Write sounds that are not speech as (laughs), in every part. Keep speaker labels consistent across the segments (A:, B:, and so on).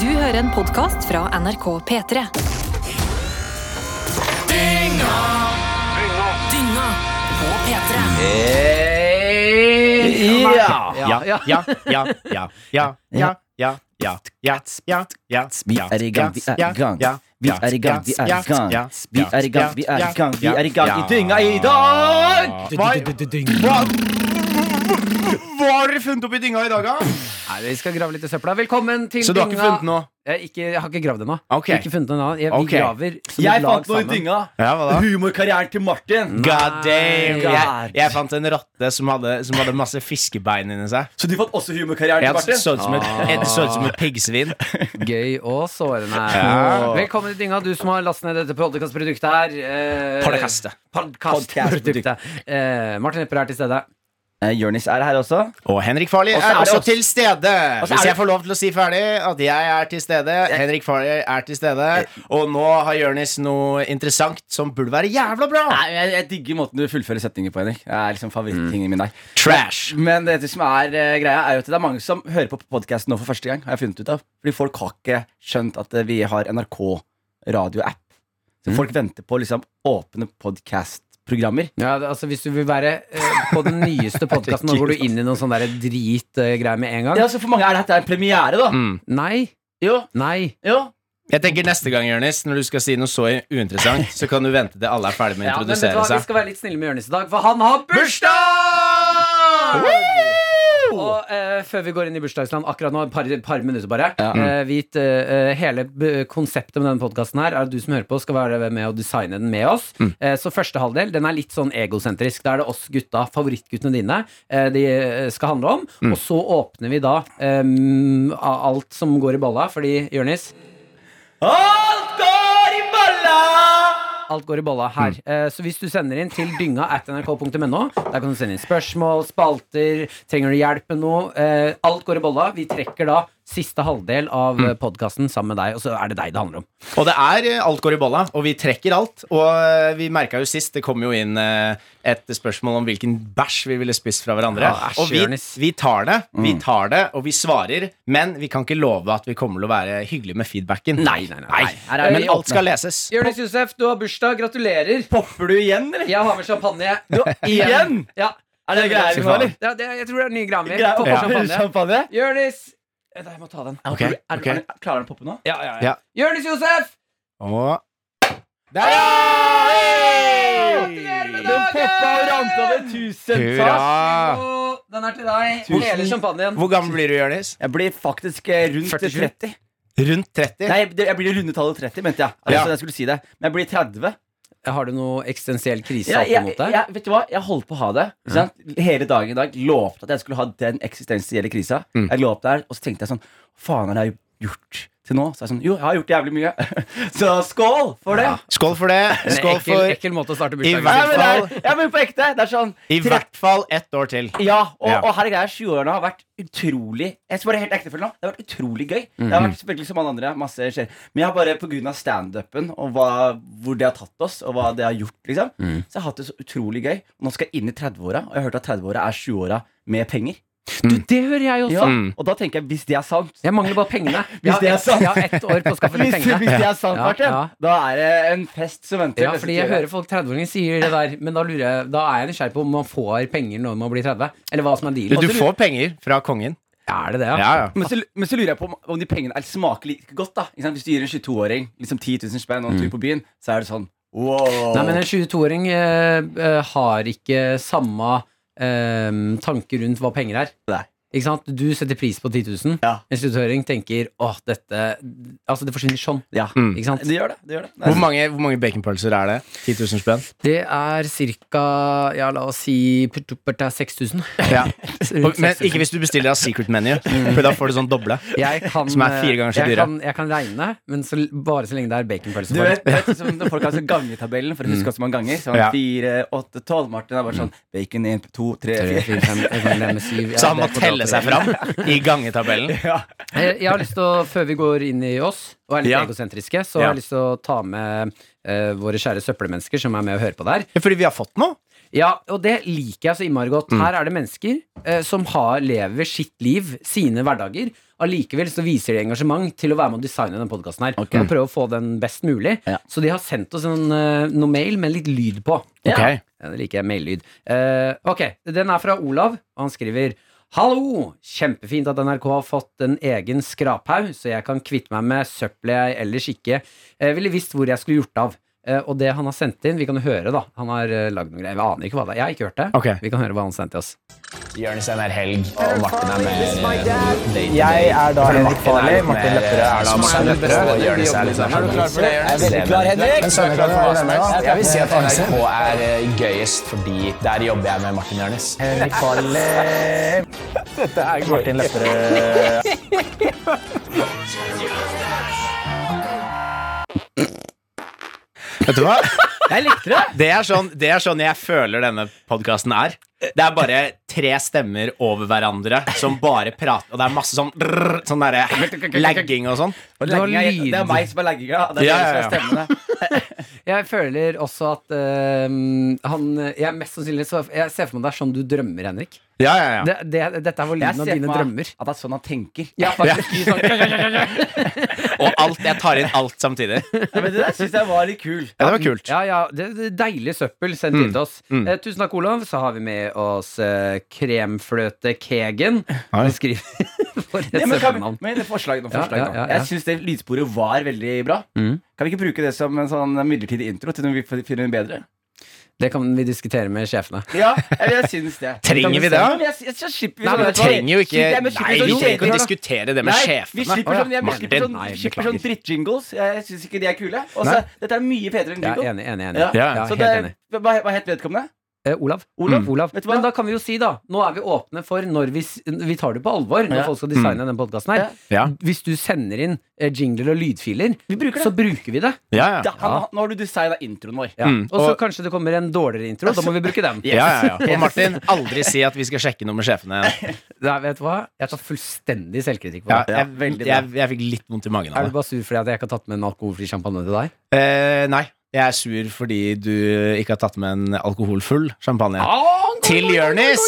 A: Du hører en podkast fra NRK P3.
B: Dynga på P3.
C: Eh,
D: Ja.
E: Ja, ja, ja, ja, ja, ja, ja, ja, ja, ja, ja, ja,
D: Vi er i gang, vi er i gang. Vi er i gang, vi er i gang. Vi er i gang, vi er i gang. Vi er i gang i dynga i dag!
E: Hva hva har dere funnet opp i dynga i dag, da?
C: Nei, vi skal grave litt i søpla. Velkommen til
E: Så du har ikke funnet noe?
C: Jeg, ikke, jeg har ikke gravd ennå.
E: Ok.
C: Ikke funnet noe ennå. Jeg, vi
E: Ok.
C: graver som
D: Jeg
C: et lag
D: fant noe i
C: sammen.
D: dynga.
E: Ja, hva da?
D: Humorkarrieren til Martin.
E: God damn! Jeg,
C: God.
E: jeg fant en rotte som hadde, som hadde masse fiskebein inni seg.
D: Så du fant også humorkarrieren til
E: Jeg
D: Martin?
E: så ut som et,
D: Ah.
E: jeg så ut som et piggsvin.
C: Gøy og sårende.
E: Ja.
C: Velkommen til dynga, du som har lastet ned dette podcast-produktet her. Eh,
E: Podcastet.
C: Podcast-produktet. Eh, Martin Lepper er til stede.
D: Eh, Jonis er her også.
E: Og Henrik Farley
D: Og så er
E: er
D: det
E: også
D: også-
E: til stede.
D: Og så er
E: Hvis
D: det-
E: jeg får lov til å si ferdig at jeg er til stede, Henrik Farley er til stede, og nå har Jonis noe interessant som burde være jævla bra.
D: Nei, jeg, jeg digger måten du fullfører setninger på, Henrik. Det er liksom favorittingen min der.
E: Trash.
D: Men det som er eh, greia, er jo at det er mange som hører på podkasten nå for første gang. Har jeg funnet ut av Fordi folk har ikke skjønt at eh, vi har NRK radioapp. Så folk venter på liksom åpne podkast-programmer.
C: Ja, det- altså Hvis du vil være eh, på den nyeste podkasten, nå går du inn i noen sånn dritgreier med en gang.
D: Ja, Mm. så For mange er dette en premiere, da.
C: Nei.
D: Jo,
C: Nei.
D: jo.
E: Jeg tenker Neste gang Jørnes, når du skal si noe så uinteressant, så kan du vente til alle er ferdig med å
C: Ja, men vet du
E: introdusere
C: hva, Vi
E: seg.
C: skal være litt snille med Jonis i dag, for han har bursdag!
E: Bursdag!
C: Og eh, før vi går inn i bursdagsland, akkurat nå, et par, par minutter bare
D: Ja.
C: eh, vit, eh, Hele b- konseptet med denne podkasten her er at du som hører på, skal være med å designe den med oss. Eh, så første halvdel den er litt sånn egosentrisk. Da er det oss gutta, favorittguttene dine, eh, de eh, skal handle om. Og så åpner vi da eh, av alt som går i balla, fordi Jonis
D: Alt går i balla!
C: Alt går i bolla her. Eh, Så hvis du sender inn til dynga at nrk.no, der kan du sende inn spørsmål, spalter, trenger du hjelp med noe? eh, Alt går i bolla. Vi trekker da siste halvdel av mm. podkasten sammen med deg, og så er det deg det handler om. (laughs)
E: Og det er eh, alt går i bolla, og vi trekker alt. Og eh, vi merka jo sist, det kom jo inn eh, et spørsmål om hvilken bæsj vi ville spist fra hverandre.
C: Ja, æsj,
E: og vi,
C: Jonis.
E: vi tar det, vi tar det, og vi svarer. Men vi kan ikke love at vi kommer til å være hyggelige med feedbacken.
C: Nei, nei, nei, nei. Her er vi
E: Men
C: åpne.
E: alt skal leses.
C: Jonis Josef, du har bursdag. Gratulerer.
D: Popper du igjen, eller?
C: Jeg har med champagne.
D: Igjen?
C: Ja.
D: Er det greier nå, eller?
C: Ja, det, jeg tror det er nye greier.
D: Greier-
C: Popper
D: Ja.
C: champagne.
D: Champagne?
C: Jonis Vent da, Jeg må ta den.
E: Ok,
D: Er, er,
E: ok.
D: er, klarer den å poppe nå?
C: Ja, ja, ja.
E: Ja.
C: Jonis Josef!
E: Og Der, ja!
C: Gratulerer med
D: Den poppa og
C: dagen!
D: rant over tusen takk.
E: Hurra!
C: Og Den er til deg.
D: Tusen-
C: Hele champagnen.
E: Hvor gammel blir du, Jonis?
D: Jeg blir faktisk eh, rundt
C: 47.
D: 30.
E: Rundt 30?
D: Nei, det- jeg blir det runde tallet 30, mente jeg. Altså,
E: Ja.
D: jeg skulle si det Men jeg blir 30.
C: Har du noe eksistensiell krise
D: Jeg,
C: opp
D: jeg,
C: imot deg?
D: jeg, vet du hva? jeg holdt på å ha det. ikke Sant? Hele dagen i dag lovte at jeg skulle ha den eksistensielle krisa.
E: Mm.
D: Jeg lå opp der, Og så tenkte jeg sånn Faen, har jeg gjort til nå? Så jeg sånn, jo, jeg har gjort jævlig mye. (laughs) så skål for det!
E: Skål for det.
C: En
E: Skål
C: ekkel,
E: for
C: ekkel måte å starte
E: I
C: bursdagen
E: hvert
D: Ja, men, det
E: fall-
D: er, ja, men på ekte. Det er sånn
E: i
D: tre-
E: hvert fall ett år til.
D: Ja, og,
E: Ja.
D: og her er greia 20-årene har vært utrolig Jeg skal bare helt ektefølge nå Det har vært utrolig gøy Det har vært selvfølgelig som alle andre Masse skjer Men jeg har bare på grunn av stand-upen Og hva, hvor det har tatt oss Og hva det har gjort liksom Så jeg har hatt det så utrolig gøy Nå skal jeg inn i 30-åra Og jeg har hørt at 30-åra er 20-åra med penger
C: Du, det hører jeg også.
D: Ja Og da tenker jeg Hvis det er sant
C: Jeg mangler bare pengene. Jeg har
D: det er
C: ett-
D: sant.
C: Jeg har ett år på å skaffe de
D: hvis, hvis
C: pengene.
D: det er sant,
C: Ja,
D: Martin
C: ja.
D: Da er det en fest som venter
C: Ja, fordi jeg hører folk 30-åringer sier det der, men da, lurer jeg, da er jeg nysgjerrig på om man får penger når man blir 30, eller hva som er
E: Du
C: dealen. Altså,
E: får penger fra kongen.
C: Er det det, ja?
E: Ja, ja.
D: men så, men så lurer jeg på om, om de pengene er smaker like godt da ikke sant? Hvis du gir en 22-åring Liksom 10 000 spenn og en tur på byen Så er det sånn Wow
C: Nei, men en 22-åring eh, eh, har ikke samme eh, tanke rundt hva penger er.
D: Nei.
C: Ikke sant? Du setter pris på 10 000.
D: Ja.
C: En 22-åring tenker åh, dette Altså, det forsvinner sånn.
D: Ja,
C: Ikke sant?
D: det gjør det. det, gjør det. Nei,
E: Mm. Hvor mange, hvor mange baconpølser er det? 10 000 spenn?
C: Det er ca. Ja, la oss si putt- putt- putt, det er 6000.
E: (laughs) Ja.
C: Rundt
E: Men
C: 6000.
E: ikke hvis du bestiller av Secret Menu, for da får du sånn doble.
C: jeg kan, eh,
E: som er fire ganger så
C: jeg
E: dyre.
C: Kan, jeg kan regne, men så, bare så lenge det er baconpølse.
D: Du
C: for.
D: vet, vet du, som når folk har sånn gangetabellen for å huske hvor mange ganger. Sånn
E: Mm. Ja.
D: fire, åtte, tolv. Martin er bare sånn Bacon 1, 2, 3,
C: Tre,
D: 4.
C: fire, fem, jeg kan glemme syv. Ja,
E: Så han må
C: det er Eh,
E: telle seg fram i (laughs) gangetabellen.
C: Jeg, jeg har lyst til å, Før vi går inn i oss og er litt
E: Ja.
C: egosentriske, så
E: Ja.
C: har jeg lyst til å ta med eh, våre kjære søppelmennesker som er med og hører på der.
E: Fordi vi har fått noe.
C: Ja, og det liker jeg så innmari godt. Her er det mennesker eh, som har, lever sitt liv, sine hverdager. Allikevel så viser de engasjement til å være med å designe denne podkasten her. Og prøve å få den best mulig.
D: Ja.
C: Så de har sendt oss en, eh, noe mail med litt lyd på.
E: Ok.
C: Ja, det liker jeg. Maillyd. Eh, ok, den er fra Olav, og han skriver Hallo! Kjempefint at NRK har fått en egen skraphaug, så jeg kan kvitte meg med søppelet jeg ellers ikke eh, ville visst hvor jeg skulle gjort av. Eh, og det han har sendt inn, vi kan jo høre, da. Han har uh, lagd noen greier. Jeg aner ikke hva det er. Jeg har ikke hørt det.
E: Ok.
C: Vi kan høre hva han sendte oss.
F: Jonis er mer helg, og Martin er mer eh,
G: Jeg er da Henrik Farley. Martin Lepperød er da
F: Martin Lepperød. eh, Og Jonis er litt mer
G: Jeg er veldig klar, Henrik.
F: Men så er jeg klar for hva som helst. Jeg vil si at
G: Jeg
F: NRK er eh, gøyest, fordi der jobber jeg med Martin Jonis.
G: Henrik Farley. Martin Lepperød.
E: Vet (laughs) du hva?
C: Jeg likte det!
E: Det er sånn, det er sånn jeg føler denne podkasten er. Det er bare tre stemmer over hverandre som bare prater, og det er masse sånn rrr, Sånn derre lagging og sånn.
D: Og
C: Det var
D: leggingen er-
C: lyd.
D: det er meg som er legginga. Det er
E: Ja, ja,
D: dere som er stemmene.
C: Jeg føler også at eh, han Jeg er mest sannsynlig så Jeg ser for meg det er sånn du drømmer, Henrik.
E: Ja, ja, ja.
C: Det, det, dette er hvor
D: Jeg
C: lyden av
D: ser for
C: dine
D: meg
C: drømmer.
D: At det er sånn han tenker.
C: Ja, faktisk.
E: Og alt, jeg tar inn alt (laughs) samtidig. Ja,
D: Ja, men Det der syns jeg var litt kul.
E: det var kult. Mm.
C: Ja, ja, det, det er Deilig søppel sendt inn til oss. Eh, tusen takk, Olav. Så har vi med oss eh, kremfløte-Kegen.
E: Oi.
C: Han skriver (laughs) For et
D: Nei, men, kan,
C: søppelnavn.
D: men det forslag, noen
C: Ja,
D: forslag
C: ja,
D: nå.
C: ja, ja.
D: Jeg syns det lydsporet var veldig bra.
C: Mm.
D: Kan vi ikke bruke det som en sånn midlertidig intro til når vi f- finner en bedre?
C: Det kan vi diskutere med sjefene.
D: Ja, jeg, jeg syns det.
E: Trenger vi det?
D: Ja, men jeg, jeg, så slipper vi
C: Nei, men
D: sånn-
C: vi
E: Trenger jo ikke
D: Slipper- men
E: Nei, vi
D: slipper sånn
E: trenger ikke å
D: kjedelig-
E: diskutere det med
D: Nei, Vi
E: sjefene.
D: slipper
C: Å, ja.
D: sånn, jeg, vi slipper
E: Martin,
D: sånn,
C: nei,
D: slipper sånn
C: beklager.
D: drittjingles. Jeg syns ikke de er kule. Og så,
E: Nei.
D: dette er mye fetere
C: Jeg er
D: enn jingle.
C: enig, enig, enig.
D: Ja,
C: Jeg er
E: ja,
D: så
C: helt
D: det,
C: enig.
D: hva, hva het vedkommende?
C: Eh, Olav.
D: Olav?
C: Mm. Olav.
D: Vet du hva?
C: Men da kan vi jo si, da. Nå er vi åpne for når vi, s- vi tar det på alvor når
D: Ja.
C: folk skal designe
E: Mm.
C: denne podkasten her.
E: Ja.
C: Hvis du sender inn eh, jingler og lydfiler,
D: bruker det.
C: så bruker vi det.
E: Ja, ja.
D: Da, han, nå har du designa introen vår.
C: Ja.
E: Mm.
C: Og så
E: Og-
C: kanskje det kommer en dårligere intro. Da må vi bruke den.
E: Ja, ja, ja. Og Martin, aldri si at vi skal sjekke noe med sjefene.
C: Nei, vet du hva? Jeg tar fullstendig selvkritikk på
E: Ja,
C: det.
E: jeg,
D: veldig bra.
E: jeg, jeg fikk litt vondt i magen
C: Er
E: av
C: du
E: det.
C: bare sur fordi at jeg ikke har tatt med en alkoholfri champagne til deg?
E: Eh, nei, jeg er sur fordi du ikke har tatt med en alkoholfull champagne. Til Jonis!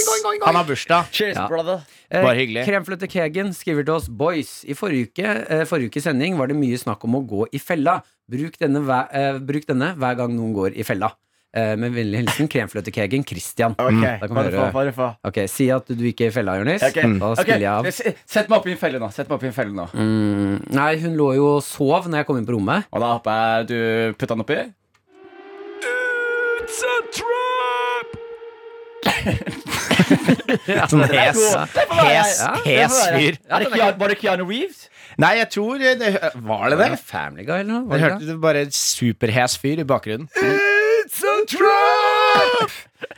E: Han har bursdag.
D: Cheers,
C: Ja.
D: brother.
C: Eh,
E: Bare hyggelig.
C: Kremfløtte Kegen skriver til oss Boys, i forrige uke, eh, forrige uke sending var det mye snakk om å gå i fella. Bruk denne, hver, eh, bruk denne hver gang noen går i fella. Eh, med vennlig hilsen Kremfløtte-Kegen Christian. Da kan vi
D: Bare få,
C: høre.
D: bare få.
C: Ok, Si at du ikke er i fella, Jonis.
D: Ok,
C: Da
D: ok,
C: spiller jeg av.
D: s- Sett meg opp i en felle nå. Sett meg opp i en felle nå
C: Mm, nei, hun lå jo og sov når jeg kom inn på rommet.
D: Og da håper jeg du putter den oppi.
C: (laughs)
E: Sånn hes, hes, hes fyr.
D: Er det Keanu, var det Keanu Reeves?
E: Nei, jeg tror det, Var det det?
C: Family Guy, eller noe? Var
E: Jeg
C: det
E: hørte det bare superhes fyr i bakgrunnen.
C: det?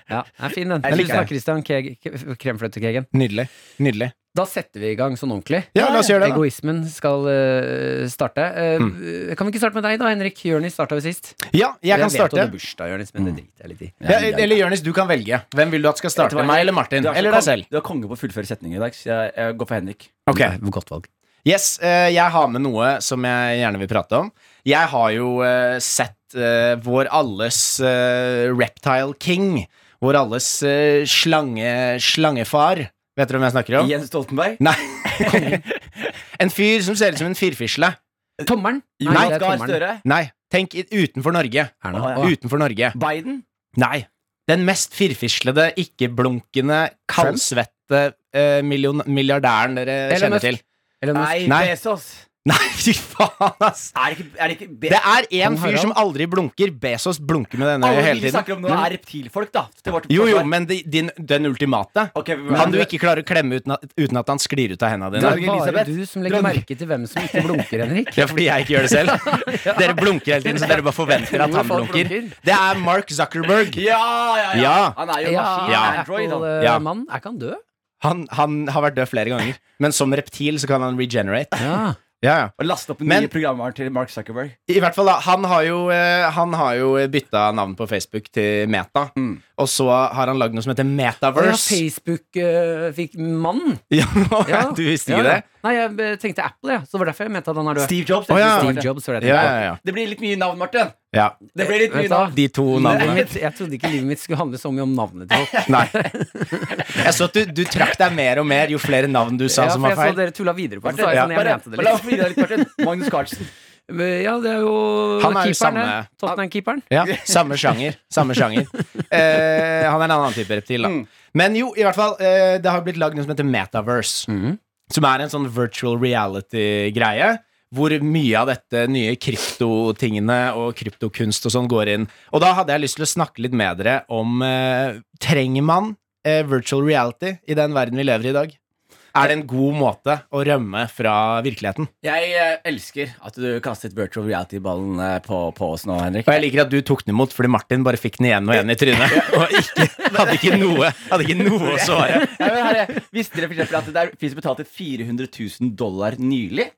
C: Ja, det er fin, den.
E: Jeg liker
C: Tusen takk,
E: det.
C: Christian Keg- K- Kremfløtte-Kegen.
E: Nydelig. Nydelig.
C: Da setter vi i gang sånn ordentlig.
E: Ja, la oss gjøre det, da.
C: Egoismen skal eh, starte. Eh, Kan vi ikke starte med deg, da, Henrik? Jonis starta vi sist.
E: Ja, jeg kan
C: vet jo
E: starte. Mm.
C: det er bursdag, Jonis, men det driter jeg litt i.
E: Ja, eller Jonis, du kan velge. Hvem vil du at skal
D: Vet du
E: starte?
D: hva?
E: Meg eller Martin?
D: Du er så
E: Eller
D: kong-
E: deg selv?
D: Du er konge på å fullføre setninger i dag, så jeg, jeg går for Henrik.
E: Ok.
C: Det er et Godt valg.
E: Yes, eh, jeg har med noe som jeg gjerne vil prate om. Jeg har jo eh, sett eh, vår alles eh, Reptile King. Vår alles eh, slange, slangefar. Vet dere hvem jeg snakker om?
D: Jens Stoltenberg.
E: Nei. (laughs) en fyr som ser ut som en firfisle.
C: Tommeren!
E: Nei,
C: det er
D: Eh, Gahr
C: tommeren.
D: Støre.
E: Nei, tenk i- utenfor Norge.
C: Erna.
D: Å, ja.
C: Å,
E: Utenfor Norge.
D: Biden.
E: Nei. Den mest firfislede, ikke-blunkende, kaldsvette eh, million- milliardæren dere
C: Elon
E: kjenner
C: Musk.
E: til.
C: Elon Musk.
D: Nei,
E: Nei.
D: Bezos.
E: (laughs) Nei, fy faen, ass!
D: Er det ikke, er det ikke Be
E: Det er én
C: Kong
E: fyr
C: Harald.
E: som aldri blunker. Bezos blunker med denne
D: Alle
E: hele
D: de vi
E: tiden. Mm.
D: snakker om nå, er reptilfolk, da. Til vårt
E: Jo, jo,
D: forsvar.
E: men de, din, den ultimate.
D: Ok, men-
E: Han du ikke klarer å klemme uten at, uten at han sklir ut av hendene
C: Det
E: dine.
C: er bare
D: Elisabeth.
C: du som legger
D: Dronning.
C: merke til hvem som ikke blunker,
D: (laughs)
C: Henrik.
E: Det er fordi jeg ikke gjør det selv. Dere blunker hele tiden, så dere bare forventer at
C: Jo,
E: han
C: folk
E: blunker.
C: blunker.
E: Det er Mark Zuckerberg.
D: Ja, ja, ja,
E: Ja.
D: Han er jo en maskin.
E: Ja.
D: Android. Han.
C: Apple-mannen.
E: Ja.
C: eh, Er ikke han død?
E: Han, han har vært død flere ganger, men som reptil så kan han regenerate.
C: Ja.
E: Ja, ja.
D: Og laste opp
E: Men-
D: nye programvaren til Mark Zuckerberg.
E: I hvert fall da, Han har jo, eh, han har jo bytta navn på Facebook til Meta. Og så har han lagd noe som heter
C: ja eh,
E: Metaverse.
C: Facebook-fikk-mannen.
E: (laughs) Ja,
C: Ja.
E: du visste
C: Ja,
E: ikke
C: ja.
E: det?
C: Nei, jeg eh, tenkte Apple, ja. Så det var derfor jeg mente at han er død.
D: Steve Jobs.
E: Å, ja.
D: Steve
C: Steve Jobs var det jeg
E: Ja,
C: tenkte.
E: ja, ja.
D: Det blir litt mye navn, Martin.
E: Ja.
D: Det blir litt mye
C: Vet du hva?
D: navn.
E: De to
C: Livet
E: navnene.
C: mitt, jeg trodde ikke livet mitt skulle handle så mye om navnet
D: (laughs)
C: til folk.
E: Nei. Jeg så at du, du trakk deg mer og mer jo flere navn du sa
C: Ja,
E: som
C: for
E: var
C: jeg så
E: feil.
C: dere tulla videre på det. Så
D: Bare,
C: var jeg sånn, jeg
D: bare,
C: mente det
D: bare la oss
C: litt. (laughs)
D: bidra litt, Martin. Magnus Carlsen.
C: Ja, det er jo
E: Han er jo
C: keeperen,
E: samme-
C: det. Tottenham-keeperen.
E: Ja, samme sjanger. Samme sjanger. Eh, han er en annen type reptil, da. Men jo, i hvert fall, eh, det har blitt lagd noe som heter Metaverse. Som er en sånn virtual reality-greie. Hvor mye av dette nye kryptotingene og kryptokunst og sånn går inn. Og da hadde jeg lyst til å snakke litt med dere om eh, Trenger man eh, virtual reality i den verden vi lever i i dag? Er det en god måte å rømme fra virkeligheten?
D: Jeg eh, elsker at du kastet virtual reality-ballen eh, på, på oss nå, Henrik.
E: Og
D: (laughs)
E: jeg liker at du tok den imot, fordi Martin bare fikk den igjen og igjen i trynet. Og ikke, hadde, ikke noe, hadde ikke noe å svare.
D: Nei, men herre, visste dere for eksempel at det der fins betalte 400 000 dollar nylig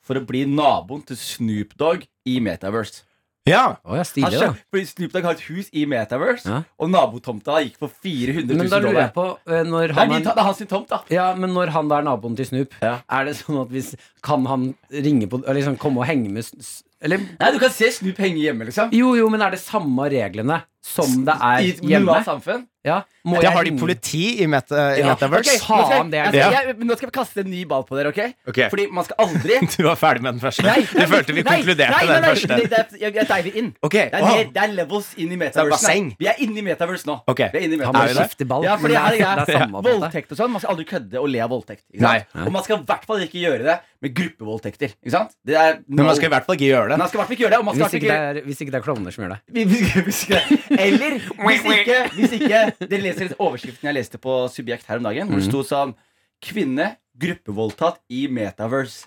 D: for å bli naboen til Snoop Dogg i Metaverse?
E: Ja,
C: Å ja,
D: Han
C: stilig, da.
D: kjøpte, fordi Snoop Dogg har et hus i Metaverse,
C: Ja.
D: og nabotomta gikk for 400
C: Men
D: 000
C: da lurer jeg
D: dollar.
C: på eh, når
D: Nei,
C: han
D: de,
C: er,
D: ta- det er hans sin tomt, da.
C: ja, men når han da er naboen til Snoop, er det sånn at hvis Kan han ringe på Eller liksom komme og henge med s- s- Eller
D: Nei, Du kan se Snoop henge hjemme, liksom.
C: Jo, jo, men er det samme reglene som det
D: I
C: er
D: et
C: hjemme?
D: normalt samfunn.
C: Ja, må
E: det
C: jeg
E: har de
C: ringe-
E: politi i, meta, i
C: Ja.
E: Metaverse.
C: Ok. Faen, det er
D: jeg,
C: det.
D: jeg, men nå skal vi kaste en ny ball på dere, ok?
E: Ok.
D: Fordi man skal aldri
C: (laughs)
E: Du var ferdig med den første.
D: Nei,
E: du følte vi
D: nei,
E: konkluderte
D: nei, nei,
E: den
D: nei,
E: første.
D: det- det er- jeg, jeg diver inn.
E: Ok,
D: Det er,
E: wow.
D: mer, det er levels inn i
E: Det er
D: Metaverse.
E: basseng.
D: nå. Vi er inne i Metaverse nå.
E: Ok.
D: Vi er inne
C: Han
E: Er
D: i
C: må
E: vi
D: Metaverse.
E: det?
C: skifte ball.
D: Ja, for det er, det
C: det er samme på en måte.
D: Voldtekt og sånn. Man skal aldri kødde og le av voldtekt. Ikke
E: Nei.
D: sant? Og man skal i hvert fall ikke gjøre det med gruppevoldtekter. Ikke sant? Det er
E: Men man skal i hvert fall ikke gjøre
D: Men
E: det.
D: man skal i hvert fall ikke gjøre det. (laughs) Og man skal
C: Hvis
D: i hvert fall
C: ikke det er, hvis ikke det er klovner som gjør det.
D: vi- vi skal- vi skal- Eller hvis ikke, hvis ikke Dere leser overskriften jeg leste på Subjekt her om dagen, hvor det sto sånn Kvinne gruppevoldtatt i Metaverse.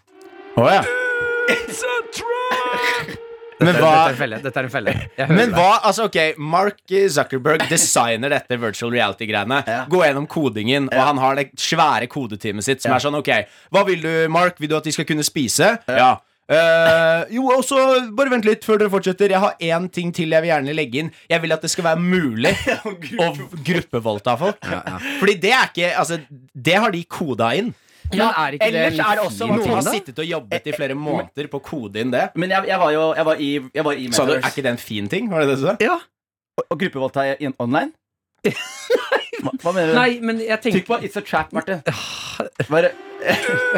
E: Å, ja. Men
C: Dette
E: hva,
C: er en felle. Dette er en felle. Jeg hører
E: men
C: deg.
E: hva Altså, ok, Mark Zuckerberg designer dette virtual reality-greiene.
D: Ja.
E: Gå gjennom kodingen, og han har det svære kodeteamet sitt som er sånn, ok, hva vil du, Mark? Vil du at de skal kunne spise? Ja. Eh, jo, og så bare vent litt før dere fortsetter. Jeg har én ting til jeg vil gjerne legge inn. Jeg vil at det skal være mulig (laughs) å gruppevoldta folk. Fordi det er ikke Altså, det har de koda inn.
C: Men er ikke det
D: ellers
C: litt
D: er det også
C: fint,
E: Noen har
C: da?
E: sittet og jobbet i flere måneder på å kode inn det.
D: Men jeg, jeg var jo jeg var i, jeg var i
E: Sa du, er
D: Metaverse.
E: ikke det en fin ting? Var det det du sa?
C: Ja.
D: Og gruppevoldta i- i- online?
C: (laughs)
D: Hva, hva mener du?
C: Nei, men jeg
D: Trykk
C: tenker
D: på It's a trap, Marte. Bare,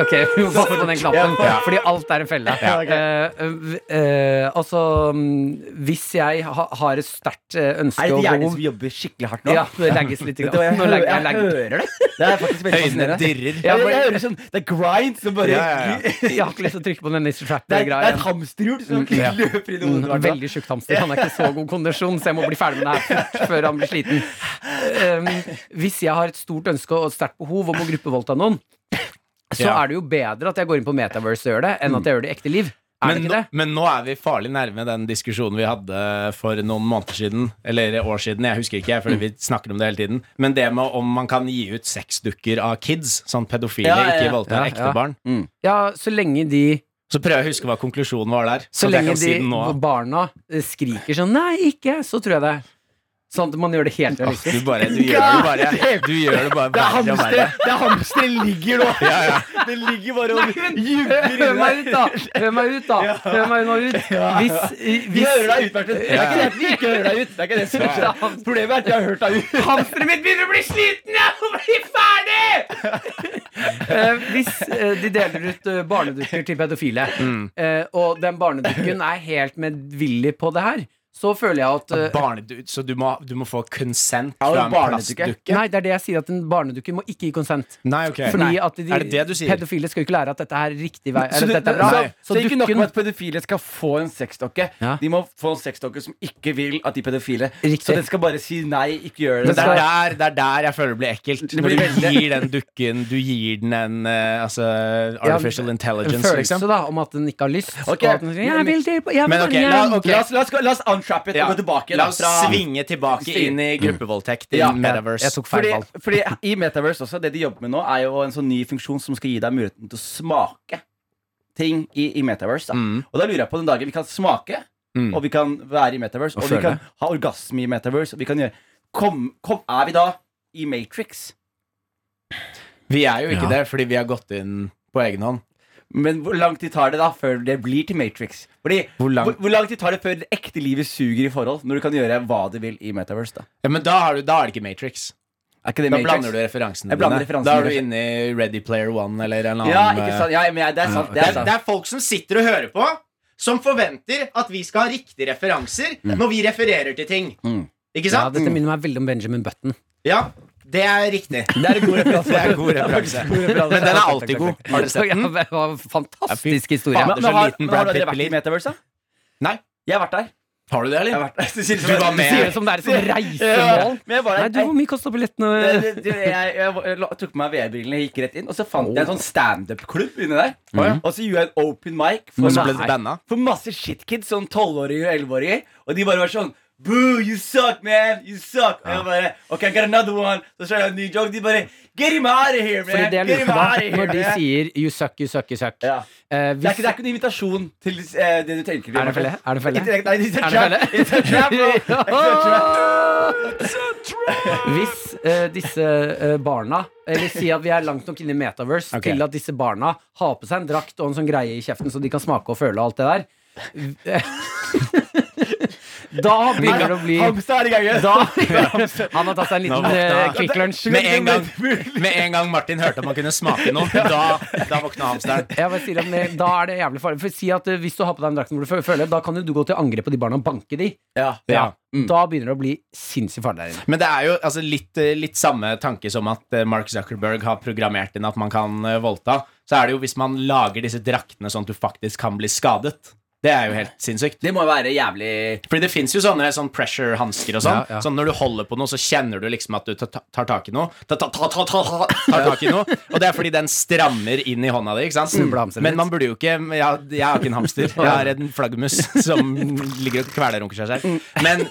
C: Ok, (laughs) vi må passe på den knappen,
E: Ja.
C: fordi alt er en felle.
E: Ja.
C: Eh, eh, eh, altså, mm, hvis jeg ha, har et sterkt eh,
D: er
C: ønske
D: det
C: og
D: hjernen
C: behov
D: som jobber skikkelig hardt nå?
C: Ja, det legges litt.
D: (laughs) Vet du
C: Grann.
D: hva, jeg,
C: Nå
D: hører,
C: legger jeg,
D: jeg
C: legger.
D: hører det. Det er faktisk veldig
E: Øynene
D: fascinerende.
E: dirrer.
C: Ja,
D: Jeg, jeg,
C: bare-
D: hører sånn, Det er grind som bare (laughs)
E: Ja, ja, ja.
D: Det,
C: (laughs) jeg har ikke lyst til å trykke på den Nisser
D: er, det er et
C: Trapper-greia.
D: hamsterhjul som (laughs) løper inn i hodet. hvert fall.
C: Mm, Veldig tjukk hamster. Han er ikke i så god kondisjon, så jeg må bli ferdig med det her fort før han blir sliten. Um, hvis jeg har et stort ønske og et sterkt behov om å gruppevoldta noen, så
E: Ja.
C: er det jo bedre at jeg går inn på Metaverse og gjør det, enn at jeg gjør det i ekte liv. Er
E: Men,
C: det
E: nå,
C: ikke det?
E: men nå er vi farlig nærme den diskusjonen vi hadde for noen måneder siden. Eller år siden, jeg husker ikke, fordi vi snakker om det hele tiden. Men det med om man kan gi ut sexdukker av kids, sånn pedofile,
D: Ja, ja, ja.
E: ikke voldtar
C: Ja,
E: ekte
C: ja.
E: barn.
C: Ja, så lenge de
E: Så prøver jeg å huske hva konklusjonen var der.
C: Så
E: at jeg
C: lenge
E: kan
C: de
E: si den nå.
C: barna eh, skriker sånn 'nei, ikke', så tror jeg det. Sånn at man gjør det helt
E: Åh,
C: realistisk.
E: du, bare, du, gjør det
C: (laughs)
E: bare, du gjør det bare
D: Det er
E: verre og verre.
D: hamster, det er hamster ligger nå.
E: Ja, ja.
D: (laughs) Det ligger bare og jubler
C: Hør meg ut,
D: inni der.
C: da!
E: (laughs)
C: Hør meg ut, da! Hør meg nå ut. Hvis, eh,
D: Vi hører
C: hvis
D: deg ut, Martin. Det er ikke det at vi ikke hører deg ut. Det er ikke det som skjer. Problemet er at vi har hørt deg ut.
C: Hamsteret mitt begynner å bli sliten! Jeg må bli ferdig! Eh, hvis eh, de deler ut eh, barnedukker til pedofile, eh, og den barnedukken er helt medvillig på det her, så føler jeg at eh,
E: Barnedu, så du må, du må få konsent
D: Ja,
E: fra en
D: barnedukke.
E: plastdukke?
C: Nei, det er det jeg sier, at en barnedukke må ikke gi konsent.
E: Nei, ok.
C: Fordi at de
E: Er det det du sier?
C: pedofile skal jo ikke lære at dette er riktig vei.
D: Så,
C: Eller,
D: det,
C: dette er bra.
D: så,
E: Nei.
D: så,
C: så
D: ikke nok
C: dukken
D: med at pedofile skal få en sexdokke.
C: Ja.
D: De må få en sexdokke som ikke vil at de er pedofile.
C: Riktig.
D: Så den skal bare si nei, ikke gjør
E: Men det
D: det.
C: skal-
E: er, der, det er der jeg føler det blir ekkelt.
D: Det
E: Når
D: blir
E: du
D: veldig-
E: gir den dukken Du gir den en eh, altså, artificial
C: en
E: intelligence,
C: følelse
E: liksom.
C: da om at den ikke har lyst. Og
D: Ok,
C: at den sier, jeg vil til på jeg vil
E: Men ok,
C: hjem».
E: la- ok.
D: La oss, la oss, gå- la oss untrap it
E: Ja.
D: og gå tilbake.
E: La
D: da,
E: oss
D: fra-
E: svinge tilbake
D: Styr.
E: inn i gruppevoldtekt i
D: Ja.
E: Metaverse.
C: Jeg tok feil
D: Fordi,
C: valg.
D: fordi I Metaverse også, det de jobber med nå, er jo en sånn ny funksjon som skal gi deg muligheten til å smake ting i, i Metaverse. Da.
E: Mm.
D: Og da lurer jeg på den dagen vi kan smake,
E: Mm.
D: og vi kan være i Metaverse, og, vi
C: føle.
D: kan ha orgasme i Metaverse, og vi kan gjøre Kom, kom er vi da i Matrix?
E: Vi er jo
C: Ja.
E: ikke det, fordi vi har gått inn på egen hånd.
D: Men hvor lang tid tar det da før det blir til Matrix? Fordi,
E: Hvor lang-
D: hvor, hvor lang tid tar det før det ekte livet suger i forhold, når du kan gjøre hva du vil i Metaverse? da
E: Ja, men da, har du, da er det ikke Matrix.
D: Er ikke det
E: Da
D: Matrix?
E: blander du referansene
D: Jeg blander
E: dine.
D: referansene,
E: Da er du
D: kanskje.
E: inne i Ready Player One eller en annen
D: Ja, ikke sant?
E: eh,
D: Ja, men ja, det er sant. Det
E: det,
D: er
E: er,
D: sant.
E: det er folk som sitter og hører på, som forventer at vi skal ha riktige referanser når vi refererer til ting.
D: Mm.
E: Ikke
C: Ja,
E: sant?
C: dette minner meg veldig om Benjamin Button.
E: Ja, det er riktig. Det er en god referanse. Men den er alltid god. Har dere sett
C: Ja,
E: den?
C: det var en fantastisk historie.
E: faen,
D: Men,
E: det er
D: men,
E: så
D: har,
E: liten
D: men
E: Brad
D: har dere
E: Pitt
D: vært i
E: blir.
D: Metaverse? da?
E: Nei.
D: Jeg har vært der.
E: Har du det,
D: Jeg har
E: eller?
D: vært der. Du sier
E: (laughs)
D: det
E: Du
D: som-
E: var
C: Du
E: med.
C: sier det som det er et sånt
D: Ja,
C: reisemål.
D: (laughs) men jeg var
C: Nei,
D: der.
C: du, hvor mye kosta
D: Jeg-
C: billettene?
D: det- det- jeg, jeg, la- tok på meg VR-brillene, gikk rett inn, og så fant jeg en sånn standup-klubb inni der. Og så gjorde jeg en open mic for,
E: Og så ble du
D: masse-
E: banna?
D: for masse shitkids, sånn 12-åringer og 11-åringer. Og de bare var sånn Boo, you suck, man! You suck! Og jeg bare OK, I got another one. Så sa jeg en ny joke. De bare Get him out of here, man!
C: Fordi det jeg
D: Get
C: lurer
D: him
C: på
D: out
C: da,
D: of here,
C: når de
D: man!»
C: sier you suck, you suck, you suck
D: Ja.
C: eh,
D: det,
C: hvis,
D: er ikke, det er ikke en invitasjon til eh, det du tenker.
C: Er det felle? Er det felle? (laughs)
D: Ikke- Nei, it's a
C: Er det felle?
D: trap! It's a
C: (laughs)
D: trap, bro! It's a trap.
C: Hvis eh, disse eh, barna Eller si at vi er langt nok inne i Metaverse
E: Ok.
C: til at disse barna har på seg en drakt og en sånn greie i kjeften så de kan smake og føle og alt det der. (laughs) da begynner det å bli
D: Hamstad er i gang. (laughs)
C: da, (laughs) Han har tatt seg en liten eh, Quick Lunch.
E: Med en, gang, med en gang Martin hørte at man kunne smake noe, da, da våkna hamsteren.
C: Jeg bare sier at med, da er det jævlig farlig. For si at eh, Hvis du har på deg en drakt hvor du fø- føler, da kan jo du gå til angrep på de barna og banke de.
D: Ja. Mm.
E: Ja.
C: Da begynner det å bli sinnssykt farlig der inne.
E: Men det er jo altså, litt, eh, litt samme tanke som at eh, Mark Zuckerberg har programmert inn at man kan eh, voldta. Så er det jo hvis man lager disse draktene sånn at du faktisk kan bli skadet. Det er jo helt sinnssykt.
D: Det må jo være jævlig
E: Fordi det fins jo sånne sånn pressure-hansker og sånn.
C: Ja, ja.
E: Sånn Når du holder på noe, så kjenner du liksom at du tar, tar tak i noe. Ta, ta, ta, ta, ta, ta, tar tak i noe Og det er fordi den strammer inn i hånda di. ikke sant?
C: Snublehamsteren Mm.
E: Men
C: litt.
E: man burde jo ikke Jeg, jeg har ikke en hamster. Jeg har en flaggermus som ligger og kvelerunker seg selv. Men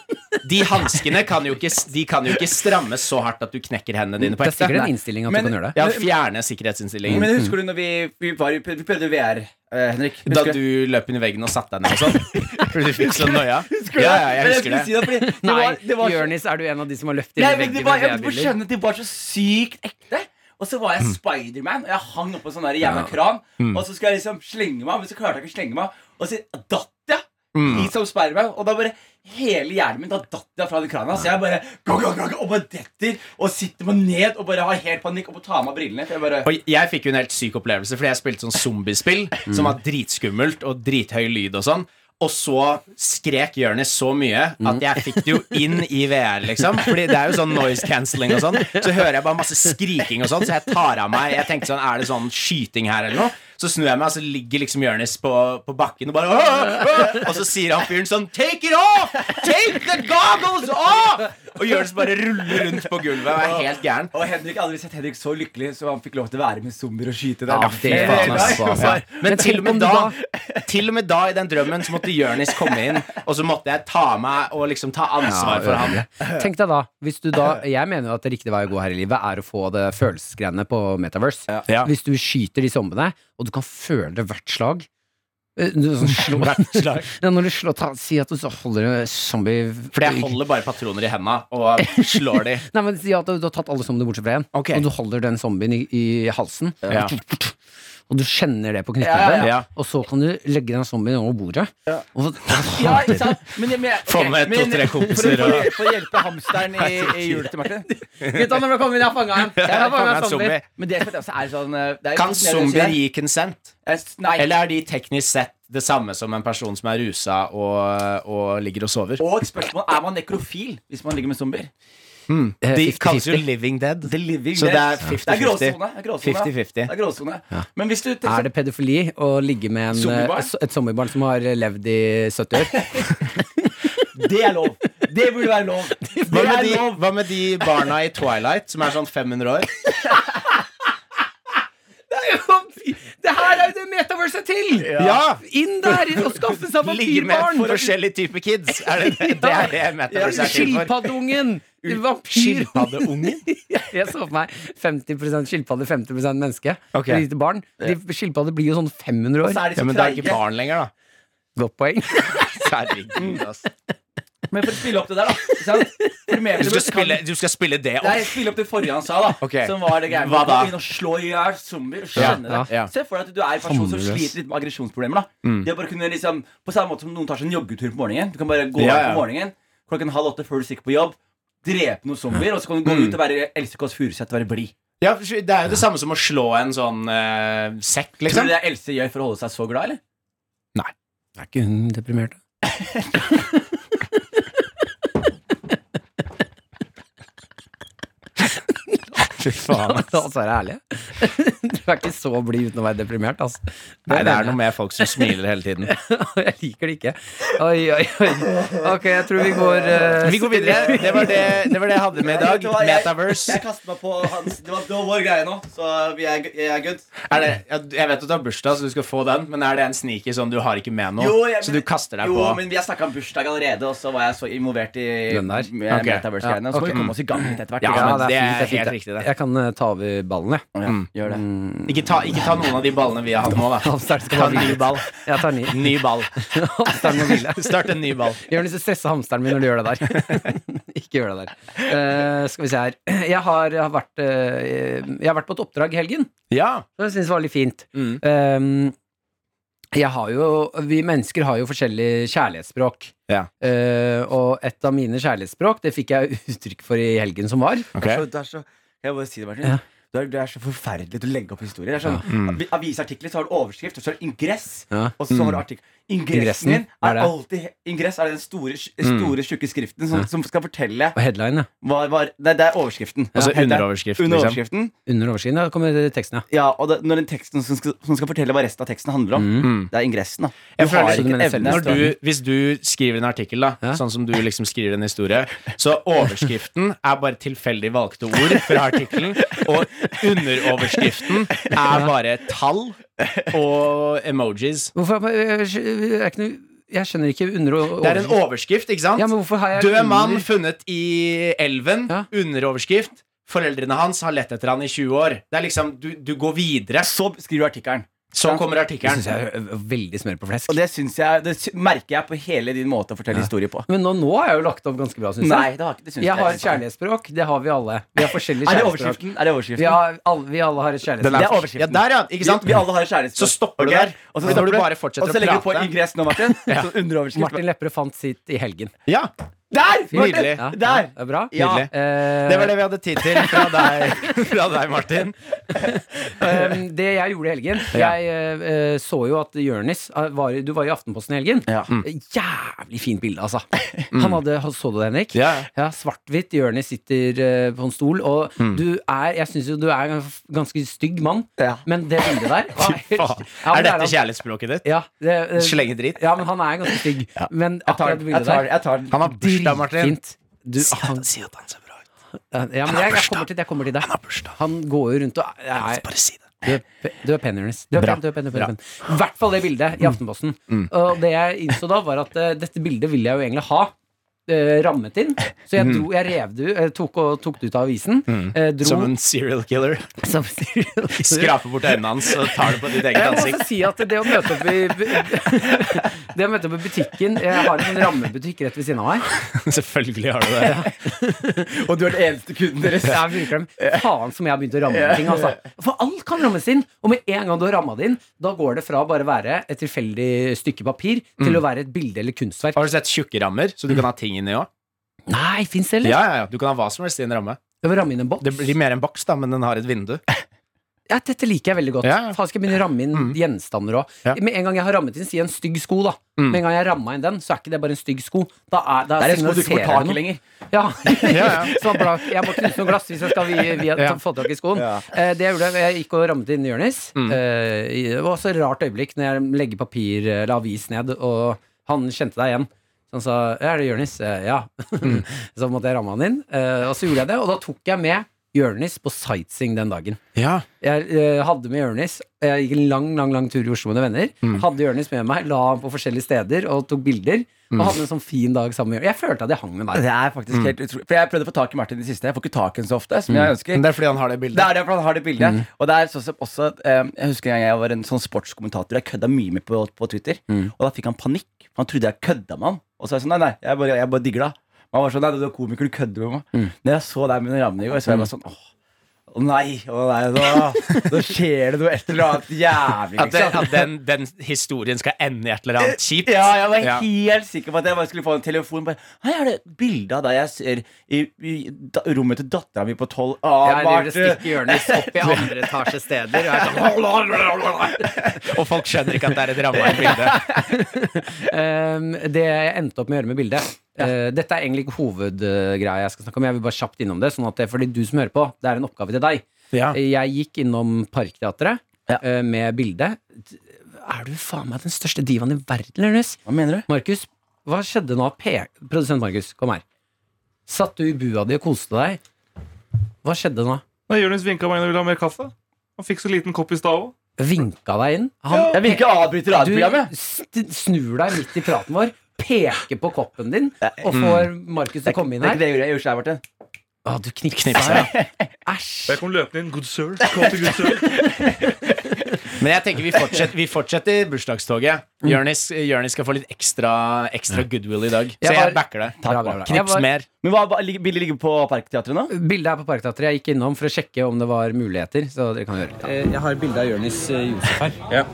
E: de hanskene kan, jo ikke- de kan jo ikke strammes så hardt at du knekker hendene dine på
C: Det er
E: ekte.
C: sikkert en
E: Nei.
C: innstilling at du
D: Men-
C: kan gjøre det.
E: Ja, fjerne sikkerhetsinnstillingen.
D: Men husker du når vi, vi, var, i- vi prøvde VR, eh, Henrik? Husker
E: Da
D: du?
E: du løp inn i veggen og satte deg ned og sånn?
D: (laughs)
E: Fordi du fikk så noia?
D: Husker du
E: Ja,
D: det?
E: ja,
D: Men
E: jeg husker
D: skulle
E: det.
D: Si det, fordi det
C: Nei,
D: var, det var så-
C: Jonis, er du en av de som har løpt inn
D: Nei,
C: i
D: men
C: veggen
D: det
C: med
D: var, jeg, du får
C: VR-briller?
D: skjønne at de var så sykt ekte. Og så var jeg
C: Mm.
D: Spiderman, og jeg hang oppå sånn der jævla kran. Og så skulle jeg liksom slenge meg, men så klarte jeg ikke å slenge meg. Og så datt jeg
C: Mm.
D: i som Spiderman, og da bare hele hjernen min da datt jeg fra den krana. Så jeg bare go, go, go, go, og bare detter og sitter meg ned og bare har helt panikk og må ta av meg brillene. For jeg bare
E: Og jeg fikk jo en helt syk opplevelse, fordi jeg spilte sånn zombiespill som var dritskummelt og drithøy lyd og sånn. Og så skrek Jonis så mye at jeg fikk det jo inn i VR, liksom. Fordi det er jo sånn noise cancelling og sånn. Så hører jeg bare masse skriking og sånn, så jeg tar av meg Jeg tenkte sånn, er det sånn skyting her eller noe? Så snur jeg meg, og så ligger liksom Jonis på, på bakken og bare «Åh, åh!» Og så sier han fyren sånn Take it off! Take the goggles off! Og Jonis bare ruller rundt på gulvet og er helt gæren.
D: og Henrik jeg har aldri sett Henrik så lykkelig, så han fikk lov til å være med zombier og skyte der.
C: Ja, fy faen, ass.
E: Ja. Men
C: Men
E: til og,
C: tenk
E: med
C: om du
E: da, til og med da, i den drømmen, så måtte Jonis komme inn, og så måtte jeg ta meg og liksom ta ansvar for han.
C: Tenk deg da, hvis du da Jeg mener jo at det riktige vei å gå her i livet er å få det følelsesgreiene på Metaverse.
E: Ja.
C: Hvis du skyter de zombiene, og du kan føle hvert slag eh, du
D: (laughs)
C: sånn slår- Ja, Når du slår ta, Si at du så holder en zombie
E: Fordi jeg holder bare patroner i henda og slår de.
C: Nei, men Si at du, du har tatt alle zombiene bortsett fra én,
E: Ok.
C: og du holder den zombien i, i halsen.
E: Ja.
C: Og du kjenner det på
D: Ja, ja,
C: knyttneven,
E: ja.
C: og så kan du legge den zombien over bordet. Og,
D: Ja, ikke sant? Men, men, ok,
E: Få med
D: men-
E: to-tre kompiser
D: For, å-
E: og-
D: for å hjelpe hamsteren i, i hjulet til Martin.
C: (laughs) Gutta, når dere kommer inn, jeg har fanga en! Jeg har
E: fanga
C: fanga
E: en
C: en zombie!
E: zombie.
D: Men det som er også er sånn eh, det er
E: Kan
D: litt mer det du sier
E: zombier gi consent?
D: der. Eh, Nei.
E: Eller er de teknisk sett det samme som en person som er rusa og, og ligger og sover?
D: Og spørsmålet er man nekrofil hvis man ligger med zombier.
E: De
C: 50-50.
E: kalles jo living dead. Så det er
D: dead. Det er
E: 50-50.
D: gråsone. det er gråsone.
E: 50-50.
D: Det er gråsone. Men hvis du sånn,
C: Er det pedofili å ligge med en,
D: Zombiebarn?
C: eh, et zombiebarn som har levd i 70 år?
E: (laughs)
D: det er lov. Det burde være lov. Det
E: Hva med,
D: er
E: de,
D: lov.
E: hva med de barna i Twilight som er sånn 500 år?
C: det her er jo det metaverse er til!
E: Ja!
C: Inn der og skaffe seg
E: Ligger med
C: vampyrbarn! (laughs)
E: forskjellige typer kids. Er det (laughs) det, det, er det Metaverse er til for?
C: Skilpaddeungen! Vampyr!
E: Skilpaddeungen?
C: Jeg så for meg 50 skilpadde, 50 menneske.
E: Ok.
C: Et lite barn. De, skilpadder blir jo sånn 500
D: Så
C: år.
D: er
E: (laughs)
D: de
E: Ja,
D: så
E: men det er ikke (laughs)
D: treige.
E: barn lenger, da.
C: Godt poeng.
E: Herregud, ass.
D: Men for å spille opp det der, da. Ikke sant? For mer-
E: Du skal spille, du skal spille det
D: Nei,
E: opp?
D: jeg spiller opp det forrige han sa, da.
E: Ok.
D: Som var det greiene
E: Hva
D: med å
E: da?
D: gå inn og slå i hjel zombier. og skjønne
C: Ja,
D: det
E: ja. Mm.
D: Se for deg at du er en person som
C: Håndløs.
D: sliter litt med aggresjonsproblemer. da Det å bare kunne liksom På samme måte som noen tar seg en joggetur på morgenen. Du kan bare
E: Ja,
D: gå ut
E: ja.
D: på morgenen klokken halv åtte før du stikker på jobb, drepe noen zombier, og så kan du
E: Mm.
D: gå ut og være Else Kåss Furuseth og være blid.
E: Ja, for Det er jo det samme som å slå en sånn eh, sekk,
D: Tror
E: liksom.
D: du det er Else gjør for å holde seg så glad, eller?
C: Er ikke hun deprimert? (laughs)
E: Fy faen.
C: La oss være ærlige. (laughs) Du er ikke så blid uten å være deprimert, altså. Det
E: Nei, det
C: mener
E: er noe med folk som smiler hele (laughs) tiden.
C: jeg. (laughs) Jeg liker det ikke. Oi, oi, oi. Ok, jeg tror vi går eh,
E: Vi går videre. Det
C: (laughs)
E: var det, det, var (laughs) det jeg hadde med i dag.
D: Vet du hva, jeg-
E: Metaverse.
D: Jeg kaster meg på hans Det var, det var vår greie nå, så vi er, jeg er good.
E: Er det, ja, jeg vet at du har bursdag, så du skal få den, men er det en sneaky sånn du har ikke med nå?
D: Jo, jeg-
E: så du kaster deg
D: jo,
E: på
D: men vi har snakka om bursdag allerede, og så var jeg så involvert i
C: Den der?
D: med
E: Ok.
D: Metaverse-greiene.
C: Ja,
D: Så må
C: ok.
D: vi komme oss i gang litt etter hvert.
E: Ja,
D: ikke sant?
E: men det Mm. er
C: fint,
E: helt
C: fint,
E: riktig, det.
C: Jeg kan eh, ta over ballen, jeg. (laughs)
D: Ja, gjør det.
E: ikke, ta, ikke ta noen av de ballene vi har hatt nå, da.
C: Hamsteren skal
E: Ta
C: bare
E: en ny
C: hvile.
E: ball.
C: Jeg tar ny.
E: (laughs) Ny ball. (laughs)
C: Hamsteren må hvile.
E: Start en ny ball.
C: Jørnis, du stresser hamsteren min når du gjør det der. (laughs) ikke gjør det der. Eh, skal vi se her. Jeg har, jeg har, vært, eh, jeg har vært på et oppdrag i helgen,
E: Ja.
C: som jeg syns var litt fint.
E: Mm.
C: Ehm, jeg har jo, vi mennesker har jo forskjellig kjærlighetsspråk.
E: Ja.
C: Eh, og et av mine kjærlighetsspråk, det fikk jeg (laughs) uttrykk for i helgen som var.
E: Ok.
D: Så du er så, kan jeg bare si det, Martin?
C: Ja.
D: Du, er, du er så forferdelig til å legge opp historier. Det er sånn,
E: Mm.
D: avi- Avisartikler så har du overskrift, og så har du ingress.
C: Ja.
D: Og så
E: Mm.
D: har du artikkel.
C: Ingressen,
D: Ingressen din
C: hva er
D: er
C: det?
D: alltid Ingress er den
E: Mm.
D: store, store tjukke skriften som, som skal fortelle
C: Og headline, ja.
D: hva, hva, nei, Det er overskriften.
E: Altså
D: Ja, heter-
E: underoverskriften,
D: Under
E: liksom.
D: overskriften
C: Under oversiden ja, kommer teksten, ja.
D: Ja, og det, når den teksten som skal, som skal fortelle hva resten av teksten handler om, det er ingressen. da Du
E: Mm. Jeg føler-
D: har
C: Så du
D: ikke
C: mener
D: evne
E: Når du, hvis du skriver en artikkel, da,
C: Ja.
E: sånn som du liksom skriver en historie, så overskriften er bare tilfeldig valgte ord fra artikkelen, og underoverskriften er bare tall og emojis.
C: Hvorfor jeg, jeg, er ikke noe, jeg skjønner ikke under og
E: Det er en overskrift, ikke sant?
C: Ja, men hvorfor har jeg
E: Død
C: under-
E: mann funnet i elven.
C: Ja.
E: Underoverskrift. Foreldrene hans har lett etter han i 20 år. Det er liksom, Du, du går videre,
D: Så skriver du artikkelen.
E: så kommer
C: Det
E: artikkelen.
C: syns jeg er ø- veldig smør på flesk.
D: Og det, syns jeg, det sy- merker jeg på hele din måte å fortelle historier på.
C: Men nå, nå er jeg jo lagt opp ganske bra, syns
D: Nei,
C: jeg.
D: det har ikke det syns
C: Jeg har et
D: ikke.
C: kjærlighetsspråk. Det har vi alle. Vi har forskjellig
D: Er det
C: kjærlighetsspråk.
D: overskriften? Er det overskriften?
C: Vi, har, alle, vi alle har et
D: Det er
C: kjærlighetsspråk.
D: overskriften.
E: Ja, der, ja. Ikke sant?
D: Vi, vi alle har et kjærlighetsspråk.
E: Så stopper du
D: Ok?
E: der.
D: Og så,
E: Men når du
D: stopper du
E: bare fortsetter
D: og så
E: å
D: legger du på
E: prate.
D: ingress nå, (laughs) Martin. Så underoverskrift.
C: Martin Lepperød fant sitt i helgen.
E: Ja,
D: Der! Martin!
E: Nydelig.
C: Ja,
D: Der!
C: Ja, det er bra.
D: Ja.
E: Nydelig.
C: Eh,
E: Det var det vi hadde tid til fra deg, (laughs) fra deg Martin.
C: eh, det jeg gjorde i helgen Jeg eh, eh, så jo at Jørnis eh, var, Du var i Aftenposten i helgen. Mm.
D: Ja.
C: Jævlig fint bilde, altså. Han hadde, Så du det, Henrik?
E: Ja, ja.
C: Ja, Svart-hvitt. Jørnis sitter eh, på en stol. Og du er Jeg syns jo du er en f- ganske stygg mann,
D: Ja.
C: men det bildet der var (laughs) helt-
E: Faen.
C: Ja, men
E: Er Eh,
C: det
E: dette
C: han.
E: kjærlighetsspråket ditt?
C: Ja, det- det-
E: Slenge dritt?
C: Ja, men han er ganske stygg. Men
D: Jeg tar
C: akkurat
D: den.
C: det
D: Jeg
C: bildet
D: tar den.
C: der
D: Jeg tar den.
E: Han har bursdag, Martin.
C: Fint. Du, han,
E: Si at han ser bra ut.
C: ja, men jeg, jeg kommer til det. Jeg kommer til det. Han går jo rundt og er,
E: Bare si det.
C: du, er, pe- du er pen, Jonis. Du er
E: Bra.
C: pen, du er pen, du er
E: Bra. Mm.
C: pen. du er pen. I hvert fall det bildet i Aftenposten. Og det jeg innså da, var at eh, dette bildet ville jeg jo egentlig ha. eh, rammet inn. Så
E: Mm.
C: jeg, dro, jeg rev det ut, eh, tok, og- tok det ut av avisen. eh, dro,
E: Som en serial (laughs) killer.
C: som sier-
E: Skraper bort øynene hans og tar det på ditt eget
C: Jeg må
E: ansikt.
C: også si at det å møte opp i (laughs) Det å møte opp i butikken Jeg har en sånn rammebutikk rett ved siden av meg.
E: (laughs) Selvfølgelig har du det.
D: Og du er den eneste kunden deres.
C: Jeg bruker dem Faen som jeg har begynt å ramme ting. Altså. For alt kan rammes inn. Og med en gang du har ramma det inn, da går det fra å bare være et tilfeldig stykke papir
D: Mm.
C: til å være et bilde eller kunstverk.
E: (laughs) Har du sett tjukke rammer, så du kan ha ting inni òg?
C: Nei, fins det, eller?
E: Ja, ja, ja. Du kan ha hva som helst i en ramme.
C: Jeg vil ramme inn en boks.
E: Det blir mer en boks, da, men den har et vindu.
C: Ja, dette liker jeg veldig godt.
E: Ja, ja.
C: Faen, skal jeg begynne å ramme inn
D: Mm.
C: gjenstander òg.
E: Ja.
C: Med en gang jeg har rammet inn, si en stygg sko, da. Med en gang jeg ramma inn den, så er ikke det bare en stygg sko. Da er, da
D: Mm. Det er en sko du ikke
C: signaliserer det
D: får tak
C: noe.
D: i lenger.
C: Ja. (laughs)
E: Ja, ja.
C: så han brakk- jeg må knuse noen glass hvis jeg skal vi, vi har
E: Ja.
C: få tak i skoen.
D: Ja.
C: Eh, det jeg gjorde, jeg gikk og rammet inn Jonis.
E: Mm.
C: Eh, i- det var også et rart øyeblikk når jeg legger papir eller avis ned, og han kjente deg igjen. Så han sa (laughs)
E: Mm.
C: «Ja, 'Er det Jonis?' Eh, ja. så måtte jeg ramme han inn. Eh, og så gjorde jeg det, og da tok jeg med Jørnis på sightseeing den dagen.
E: (laughs) Ja.
C: Jeg eh, hadde med Jørnis Jeg gikk en lang lang, lang tur i Oslo med noen venner.
E: Mm.
C: Hadde Jørnis med meg, la ham på forskjellige steder og tok bilder. Og
E: Mm.
C: hadde en sånn fin dag sammen med Jørnis. Jeg følte at jeg hang med deg.
D: Det er faktisk helt utrolig. For jeg prøvde å få tak i Martin i det siste. Jeg får ikke tak i ham så ofte som jeg ønsker.
E: Men det er fordi han har det bildet.
D: Det er det, for han har det
E: Mm.
D: bildet. Og det er sånn som også eh, Jeg husker en gang jeg var en sånn sportskommentator. Jeg kødda mye med på, på Twitter.
E: Mm.
D: Og da fikk han panikk. for Han trodde jeg kødda med han. Og så er jeg sånn Nei, nei, jeg bare, jeg bare digger det. Men han var sånn Nei, du er komiker, du kødder med meg.
E: Mm.
D: Når jeg så deg med Ravne i går, så var jeg bare sånn Åh. Å nei, å nei, nå, nå skjer det noe et eller annet jævlig,
E: At, det,
D: liksom.
E: at den, den historien skal ende i et eller annet kjipt.
D: Ja, jeg var
E: (laughs) Ja.
D: helt sikker på at jeg bare skulle få en telefon. Bare, Hei, er det et bilde av deg jeg ser i, i da, rommet til dattera mi på tolv?
C: Jeg
D: Ah,
C: driver og
D: Marte.
C: stikker Jørnis (laughs) opp i andre etasje steder. Og jeg er sånn,
E: Og folk skjønner ikke at det er (laughs) et ramma bilde.
C: Ehm, det jeg endte opp med å gjøre med bildet eh, Dette er egentlig ikke hovedgreia jeg skal snakke om. Jeg vil bare kjapt innom det, sånn at det, fordi du som hører på, det er en oppgave til deg. Eh,
E: Ja.
C: Jeg gikk innom Parkteatret
D: Ja.
C: eh, med bilde. Er du faen meg den største divaen i verden, Ernest?
D: Hva mener du?
C: Markus, hva skjedde nå? P Produsent Markus, kom her. Satt du i bua di og koste deg? Hva skjedde nå?
H: Da Jonis vinka meg inn og ville ha mer kaffe. Han fikk så liten kopp i stad òg.
C: Vinka deg inn? Han,
D: Jeg vil ikke avbryte
C: Du
D: radioprogrammet.
C: st- snur deg midt i praten vår, peker på koppen din og får Markus til å komme inn
D: Mm. Det er
C: her.
D: ikke det jeg gjorde. Jeg gjorde sånn her, Martin.
C: Å, du knipser. Æsj.
H: Jeg kom løpende inn. Good sir. Kom til good sir.
E: Men jeg tenker vi fortsetter, vi fortsetter bursdagstoget. Jørnis, Jørnis skal få litt ekstra, ekstra goodwill i dag. Så
C: Jeg
E: jeg,
C: har-
E: backer deg.
C: Bra, bra, bra. Jeg
E: Knips
C: var-
E: mer.
D: Men hva, hva ligger- bildet ligger på Parkteatret nå?
C: Bildet er på Parkteatret. Jeg gikk innom for å sjekke om det var muligheter. Så dere kan høre litt. av det.
I: Eh, Jeg har bilde av Jonis eh, Josef her.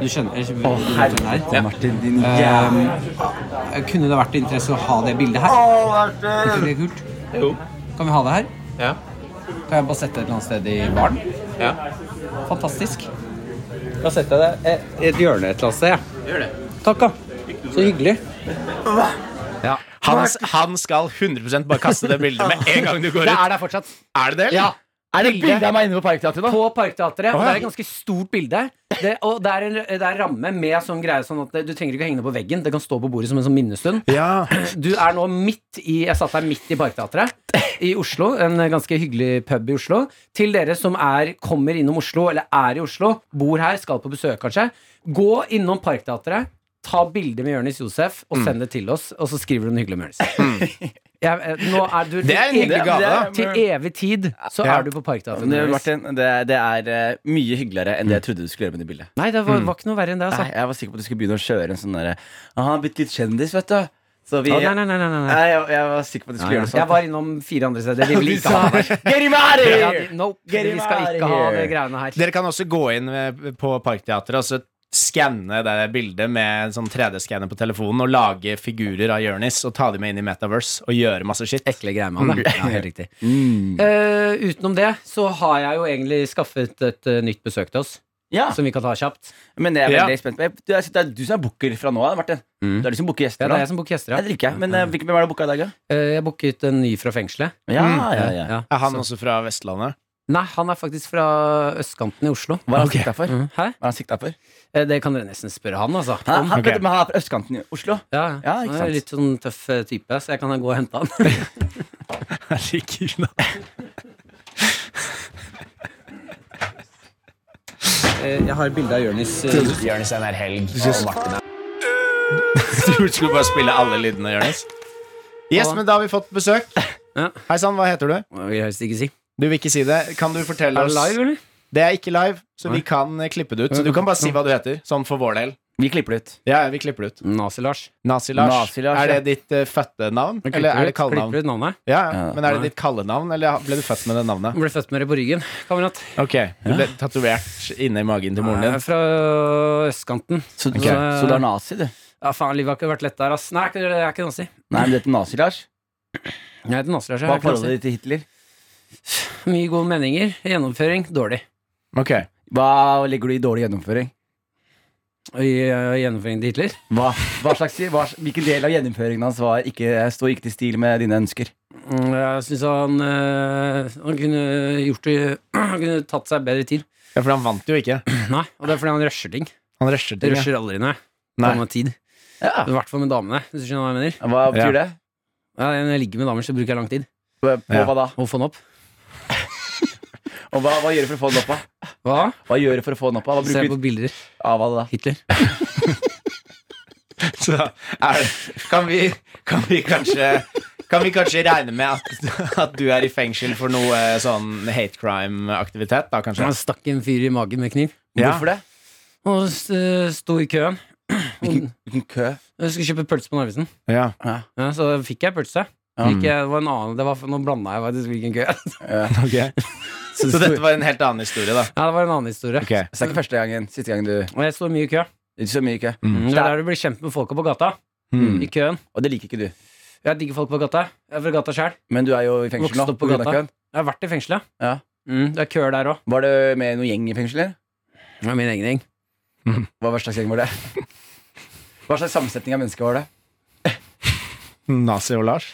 I: Du skjønner ikke
D: Martin, din
I: Kunne det vært interesse å ha det bildet her? Er ikke det kult? Kan vi ha det her?
F: Ja.
I: Kan jeg bare sette det et eller annet sted i baren?
F: Ja.
I: Fantastisk. Da setter jeg det i et hjørne et eller annet sted. Ja. Takk, da. Så hyggelig.
E: Han, han skal 100 bare kaste det bildet med en gang du går
C: Det
E: ut.
C: er der fortsatt.
E: Er det det? eller?
C: Ja.
D: Er det bilde av meg inne på Parkteatret nå?
C: På Parkteatret. Og det er et ganske stort bilde. Det, og det er, en, det er ramme med sånn greie sånn at det, du trenger ikke å henge det på veggen. Det kan stå på bordet som en sånn minnestund. Du er nå midt i Jeg satt her midt i Parkteatret i Oslo. En ganske hyggelig pub i Oslo. Til dere som er, kommer innom Oslo, eller er i Oslo, bor her, skal på besøk kanskje. Gå innom Parkteatret, ta bilde med Jonis Josef, og send det til oss. Og så skriver du en hyggelig med Jonis. (laughs) Jeg- eh, nå er du
E: Det er en
C: til
E: hyggelig
C: evig-
E: gave, da.
C: Til evig tid så
E: Ja.
C: er du på Parkteatret.
D: Men,
C: med Jonis.
D: Martin, det, det er eh, mye hyggeligere enn det jeg trodde du skulle gjøre med det bildet.
C: Nei, det var, var ikke noe verre enn det, altså.
D: Nei, jeg var sikker på at du skulle begynne å kjøre en sånn derre «Ah, Han har blitt litt kjendis, vet du. Så vi
C: Å, nei, nei, nei, nei, nei.
D: Nei, jeg, jeg var sikker på at du skulle gjøre
C: Jeg
D: noe sånt.
C: var innom fire andre steder.
D: (laughs)
C: De ville ikke ha meg.
D: Get him out of
C: Ja,
D: here!
C: de- Nope,
D: Get
C: vi
D: him
C: skal
D: out
C: ikke
D: of
C: ha
D: here.
C: det greiene her.
E: Dere kan også gå inn eh, på Parkteatret og så skanne det bildet med en sånn 3D-skanner på telefonen og lage figurer av Jørnis og ta dem med inn i Metaverse og gjøre masse shit.
C: Ekle greier med han, da. ja. Helt riktig. Mm. (laughs)
D: Mm.
C: Eh, utenom det så har jeg jo egentlig skaffet et eh, nytt besøk til oss,
D: Ja,
C: som vi kan ta kjapt.
D: men det er jeg
E: Ja.
D: veldig spent på. Jeg- Du, jeg- det er du som er booker fra nå av, Martin. Det er du som booker
C: Ja,
D: gjester
C: det
D: nå.
C: er jeg som booker gjester,
D: Jeg
C: ja.
D: drikker, jeg. Men eh, hvilken- hvem er det booka i dag, da?
C: Eh, jeg booket en ny fra fengselet.
D: Ja, ja, ja.
C: Mm, Ja.
E: Er han også fra Vestlandet?
C: Nei, han er faktisk fra østkanten i Oslo.
D: Hva er han sikta for?
C: Mhm. Hæ?
D: Hva er han sikta for?
C: Eh, det kan dere nesten spørre han, altså.
D: Han, han,
E: Ok.
D: vet du, men han er fra østkanten i Oslo.
C: Ja,
D: Ja, ikke
C: han
D: sant.
C: er litt sånn tøff eh, type, så jeg kan gå og (laughs) hente han.
E: Herregud.
I: Jeg har bilde av Jonis
F: Jonis er mer helg, og Martin er
E: (laughs) Du skulle bare spille alle lydene, Jonis. Yes, men da har vi fått (laughs) besøk.
C: Ja.
E: Hei sann, hva heter du?
C: Hva vil jeg helst ikke si.
E: Du vil ikke si det. Kan du fortelle
C: Er
E: oss
C: det live, eller?
E: Det er ikke live, så vi kan eh, klippe det ut. Så du kan bare si hva du heter, sånn for vår del.
D: Vi klipper det ut.
E: Ja, vi klipper det ut.
C: Nazi-Lars.
E: Nazi-Lars.
D: Nazi-Lars,
E: Er det
D: ja.
E: ditt eh, fødte navn?
C: Men
E: Eller
C: klipper
E: er
C: du
E: det
C: ut- Klipper
E: kallenavn?
C: du ut navnet?
E: Ja, ja. Men er
C: nei.
E: det ditt kallenavn, eller ble du født med det navnet?
C: Ble født med det på ryggen, kamerat.
E: Ok, du ble tatovert inne i magen til moren
C: Jeg er
E: din.
C: fra østkanten.
D: Så,
C: Ok.
D: så, så du er nazi, du?
C: Ja, faen, livet har ikke vært lett der, ass. Nei, jeg er ikke- jeg er ikke nazi.
D: Nei, men du heter nazi, Lars.
C: Jeg heter Nazi Lars. jeg
D: Hva
C: er
D: er
C: ikke nazi.
D: forholdet ditt til Hitler?
C: Mye gode meninger. Gjennomføring dårlig.
E: Ok,
D: Hva legger du i dårlig gjennomføring?
C: Og i, øh, gjennomføring til Hitler?
D: Hva, hva slags, hva, hvilken del av gjennomføringen hans var ikke, står ikke til stil med dine ønsker?
C: Mm, Jeg syns han, øh, han kunne gjort det (clears throat) Han kunne tatt seg bedre tid.
E: ja, for han vant jo ikke.
C: Nei, og det er fordi han rusher ting.
E: Han rusher
C: Det
E: til ja.
C: rusher aldri ned.
E: Nei.
C: Samme tid.
D: Ja.
C: I hvert fall med damene. Hvis du skjønner hva jeg mener.
D: Hva betyr det?
C: Ja, når jeg ligger med damer, så bruker jeg lang tid
D: På, på
E: Ja.
D: hva da?
C: å få den opp.
D: Og hva, hva gjør du for å få den opp? da?
C: Hva?
D: Hva gjør du for å få den opp? da? Hva
C: Se
D: bruker
C: på
D: du
C: bilder.
D: av hva da?
C: Hitler.
E: Så er det, kan, vi, kan vi kanskje Kan vi kanskje regne med at, at du er i fengsel for noe sånn hate crime-aktivitet, da kanskje?
C: Han stakk en fyr i magen med kniv.
E: Ja.
D: Hvorfor det?
C: Og s- eh, sto i køen.
D: Hvilken kø?
C: Jeg skulle kjøpe pølse på Narvesen.
E: Ja.
C: Ja, så fikk jeg pølse. Gikk jeg, det var en annen, det var, nå blanda jeg faktisk hvilken kø. (laughs)
E: ok. (laughs) Så dette var en helt annen historie, da.
C: Ja, det var en annen historie.
E: Ok.
D: Så det er ikke første gangen? Siste gangen du
C: Og jeg sto mye i kø.
D: Ikke så mye i kø.
E: Mm.
D: Mm.
C: Det er der du blir kjent med folka på gata. I køen.
D: Og det liker ikke du.
C: Jeg digger folk på gata. Jeg er fra gata sjøl.
D: Men du er jo i fengsel
C: Vokst
D: nå.
C: opp på
D: på grunn av
C: gata.
D: køen.
C: Jeg har vært i fengselet.
D: Ja.
C: Mm, det er køer der òg.
D: Var det med noen gjeng i fengsel? eller?
C: Det er min egen gjeng.
D: Hva, hva slags gjeng var det?
C: (laughs)
D: Hva slags sammensetning av mennesker var det?
E: Nazi og Lars.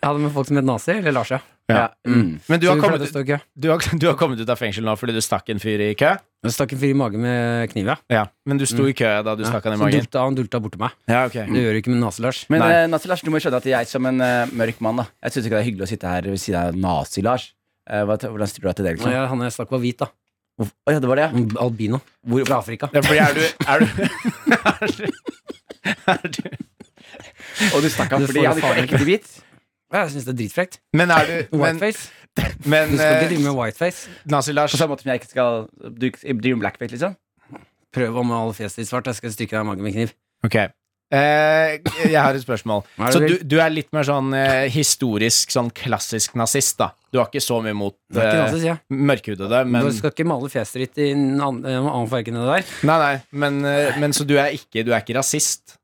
C: Jeg hadde med folk som het Nazi eller Lars, ja.
E: Ja.
D: Mm.
E: Men du
C: Så
E: har,
C: vi pleide å
E: kommet,
C: stå i kø.
E: du, har, du har kommet ut av fengsel nå fordi du stakk en fyr i kø?
C: Jeg stakk en fyr i magen med kniv, ja.
E: Ja. Men du sto i kø da du stakk han i
C: Så
E: magen?
C: dulta, han dulta borti meg.
E: Ja, ok.
C: Det gjør du ikke med Nazi-Lars.
D: Men
E: Nei.
D: eh, Nazi-Lars, du må jo skjønne at jeg som en eh, mørk mann da Jeg syns ikke det er hyggelig å sitte her ved siden av Nazi-Lars. Eh, hva- hvordan stiller du deg til det? liksom? Å ja.
C: Ja, han jeg stakk, var hvit, da.
D: det var det, ja.
C: Albino. Fra Afrika.
E: Ja, fordi er du, er du, er du, er du
D: Og du stakk av
C: Det
D: fordi
C: Mm. får
D: han ikke var
C: faen
D: ekte hvit?
C: Ja, jeg syns det er dritfrekt.
E: Men er du Men,
C: Whiteface. Du
E: men
C: skal ikke drive
E: eh,
C: med whiteface.
E: Nazi-Lars
D: På samme måte som jeg ikke skal du ikke- driver med blackface, liksom?
C: Prøv å male fjeset ditt svart. Jeg skal stikke deg i magen med kniv.
E: Ok. Eh, jeg har et (laughs) spørsmål.
C: Hva er det
E: Så
C: du
E: du,
C: vil?
E: du er litt mer sånn eh, historisk, sånn klassisk nazist, da. Du har ikke så mye mot
C: Det er ikke
E: eh,
C: Nazi, sier jeg.
E: mørkhudede, men
C: Du skal ikke male fjeset ditt i en annen, en annen farge enn det der.
E: Nei, nei, men, eh, men så du er ikke Du er ikke rasist?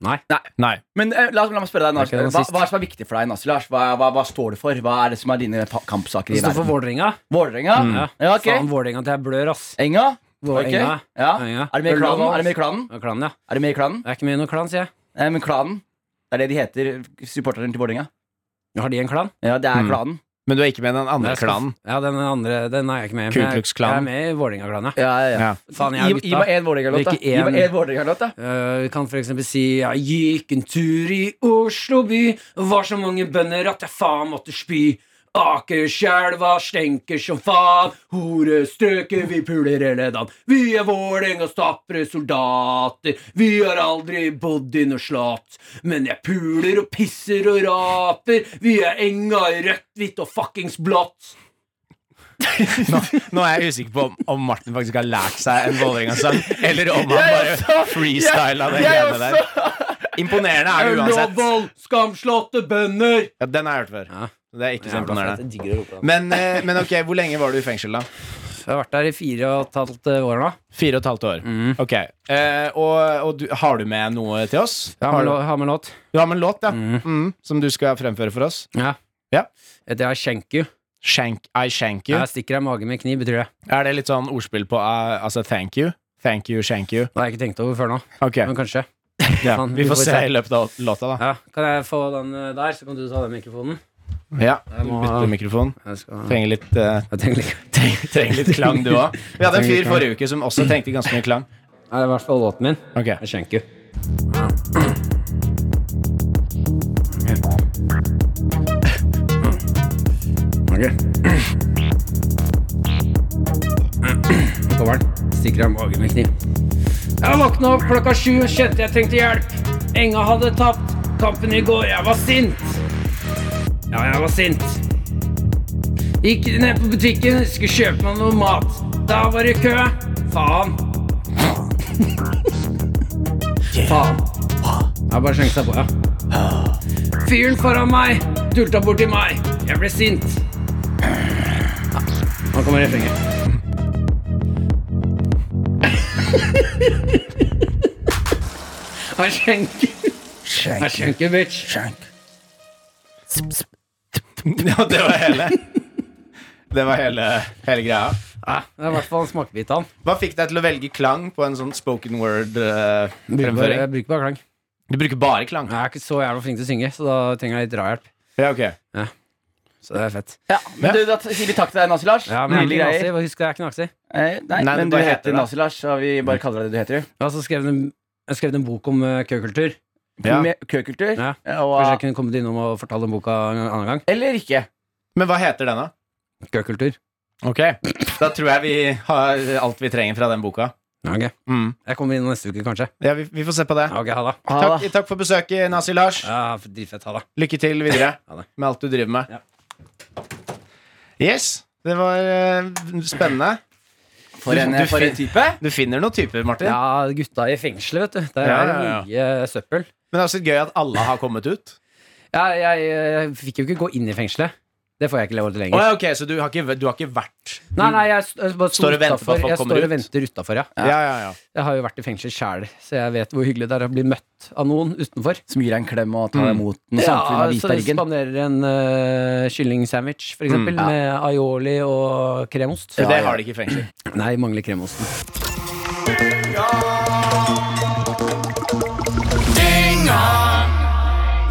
C: Nei.
E: Nei.
D: Men eh, la, la meg spørre deg, Nazi,
C: Jeg er ikke
D: hva,
C: rasist.
D: hva er det som er viktig for deg, Nazi-Lars? Hva, hva, hva står du for? Hva er det som er dine pa- kampsaker i
C: Det står for
D: verden?
C: Vålerenga.
D: Vålerenga?
C: Ja.
D: Ja, ok.
C: Faen, Vålerenga til jeg blør, ass.
D: Enga?
C: Vå-
D: Ok.
C: Enga.
D: Ja.
C: Enga.
D: Er du med i klanen? Er du med i klanen?
C: Ja, Klanen, ja.
D: Er du med i klanen?
C: Jeg er ikke med i noen klan, sier jeg.
D: Nei, Eh, men klanen? Det er det de heter, supporterne til Vålerenga.
C: Har de en klan?
D: Ja, det er
E: Mm.
D: klanen.
E: Men du er ikke med i den andre
C: Jeg skal-
E: klanen?
C: Ja, den andre den er jeg ikke med i. men
E: Ku
C: jeg-
E: Klux Klan.
C: Jeg er med i Vålerenga-klanen, ja.
D: Ja, ja, ja.
E: Ja.
C: Faen, jeg er
D: Gi,
C: gutta.
D: gi meg én Vålerenga-låt, da.
C: Drikke
D: Gi meg
C: en-
D: en Vålerenga-låt, da.
C: Eh, Vi kan for eksempel si Jeg gikk en tur i Oslo by Var så mange bønder at jeg faen måtte spy Akerselva stenker som faen Horestrøket vi puler hele dagen Vi er Vålerengas tapre soldater Vi har aldri bodd i noe slott Men jeg puler og pisser og raper Vi er enga i rødt, hvitt og fuckings blått
E: Nå, nå er jeg usikker på om, om Martin faktisk har lært seg en (laughs) Vålerenga-sang, eller om han bare freestyla det greiene der. (laughs) Imponerende er det uansett.
C: Ullevål, skamslåtte bønder
E: Ja, den har jeg hørt før.
C: Ja.
E: Det er ikke så
C: Jævla fett,
E: imponerende.
C: jeg digger å rope det.
E: Men, eh, men ok, hvor lenge var du i fengsel, da?
C: Jeg har vært der i fire og et halvt eh, år nå
E: Fire og et halvt år.
C: Mm.
E: Ok. Eh, og og du, har du med noe til oss?
C: Ja,
E: har
C: men
E: du,
C: lå- ha med låt.
E: du har med en låt, ja. Mm, som du skal fremføre for oss.
C: Ja.
E: Ja.
C: Det er Thank you.
E: Shank, I shank you.
C: Jeg stikker deg i magen med kniv, betyr det.
E: Er det litt sånn ordspill på eh, altså thank you? Thank you, shank you.
C: Det har jeg ikke tenkt over før nå,
E: Ok,
C: men kanskje.
E: ja.
C: faen,
E: Vi får se i løpet av låta, da.
C: Ja, kan jeg få den eh, der, så kan du ta den mikrofonen?
E: Ja.
C: Jeg må-
E: Bytte mikrofon.
C: Jeg, skal,
E: Trenger litt, eh,
C: (laughs) jeg tenker litt
E: treng- trenger litt klang, du òg. Vi hadde en
C: Trenger litt
E: fyr
C: klang.
E: forrige uke som også trengte ganske mye klang.
C: Nei, Det er i hvert fall låten min.
E: Ok,
C: Det er Thank you. Kommer den. Stikker deg i magen med kniv. Jeg våkna opp klokka sju og kjente jeg trengte hjelp. Enga hadde tapt kampen i går. Jeg var sint. Ja, jeg var sint. Gikk ned på butikken, skulle kjøpe meg noe mat. Da var det kø. Faen. Faen. Jeg bare slengte seg på, ja. Fyren foran meg dulta borti meg. Jeg ble sint. Nå kommer refrenget. Jeg skjenker. Jeg skjenker, bitch.
E: (laughs) Ja, det var
C: (laughs)
E: hele Det var hele, hele greia.
C: Ja, det er i hvert fall en smakebit av den.
E: Hva fikk deg til å velge klang på en sånn spoken
C: Bruker bare-
E: word-fremføring?
C: Jeg bruker bare klang.
E: du bruker bare klang?
C: Jeg er ikke så jævla flink til å synge, så da trenger jeg litt drahjelp.
E: Ja, ok.
C: Så det er fett.
D: Ja, men du, da sier vi takk til deg, Nazi-Lars.
C: Ja, men jeg er
D: Nydelige
C: ikke
D: greier.
C: nazi. Hva Husk, jeg er ikke nazi.
D: Eh, Nei,
E: Nei,
D: men
E: du
D: du
E: bare heter
D: heter
E: det. Mm.
D: Nazi-Lars, så vi bare kaller deg det du heter. du.
C: Jeg har også skrevet en, jeg har skrevet en bok om eh, køkultur.
E: Ja.
D: Med køkultur.
C: Ja.
D: Og,
C: Kanskje jeg kunne kommet innom og fortalt om boka en annen gang.
D: eller ikke.
E: Men hva heter den, da?
C: Gøkultur.
E: Ok, Da tror jeg vi har alt vi trenger fra den boka.
C: Ok.
E: Mm.
C: Jeg kommer inn neste uke, kanskje.
E: Ja, vi, vi får se på det.
C: Ok, ha det.
E: Takk, takk for besøket, Nazi-Lars.
C: Ja, Dritfett. Ha det.
E: Lykke til videre
C: Ha det.
E: med alt du driver med. Yes, det var eh, spennende.
D: For en,
E: Du- du
D: for en
E: fin-
D: type.
E: Du finner noen typer, Martin.
C: Ja, gutta i fengselet, vet du. Der
E: Ja,
C: er det
E: ja, ja.
C: mye søppel.
E: Men det er også gøy at alle har kommet ut.
C: Ja, jeg, jeg fikk jo ikke gå inn i fengselet. Det får jeg ikke lov til
E: Å
C: lenger.
E: ja, ok, Så du har ikke, du har ikke vært
C: Nei, nei, jeg, st- bare sto
E: Står og venter på at
C: utenfor.
E: folk
C: jeg
E: kommer
C: står og
E: ut?
C: venter utafor, ja.
E: Ja, ja, ja.
C: Jeg har jo vært i fengsel sjæl, så jeg vet hvor hyggelig det er å bli møtt av noen utenfor.
D: Som gir deg en klem og
E: Mm.
D: tar imot den.
C: Ja,
D: Samfunnet av
C: så de
D: Hvitbergen.
C: spanderer en uh, kyllingsandwich,
E: Mm,
C: for eksempel, med aioli og kremost.
E: For det har de ikke i fengsel.
C: Nei, mangler kremosten.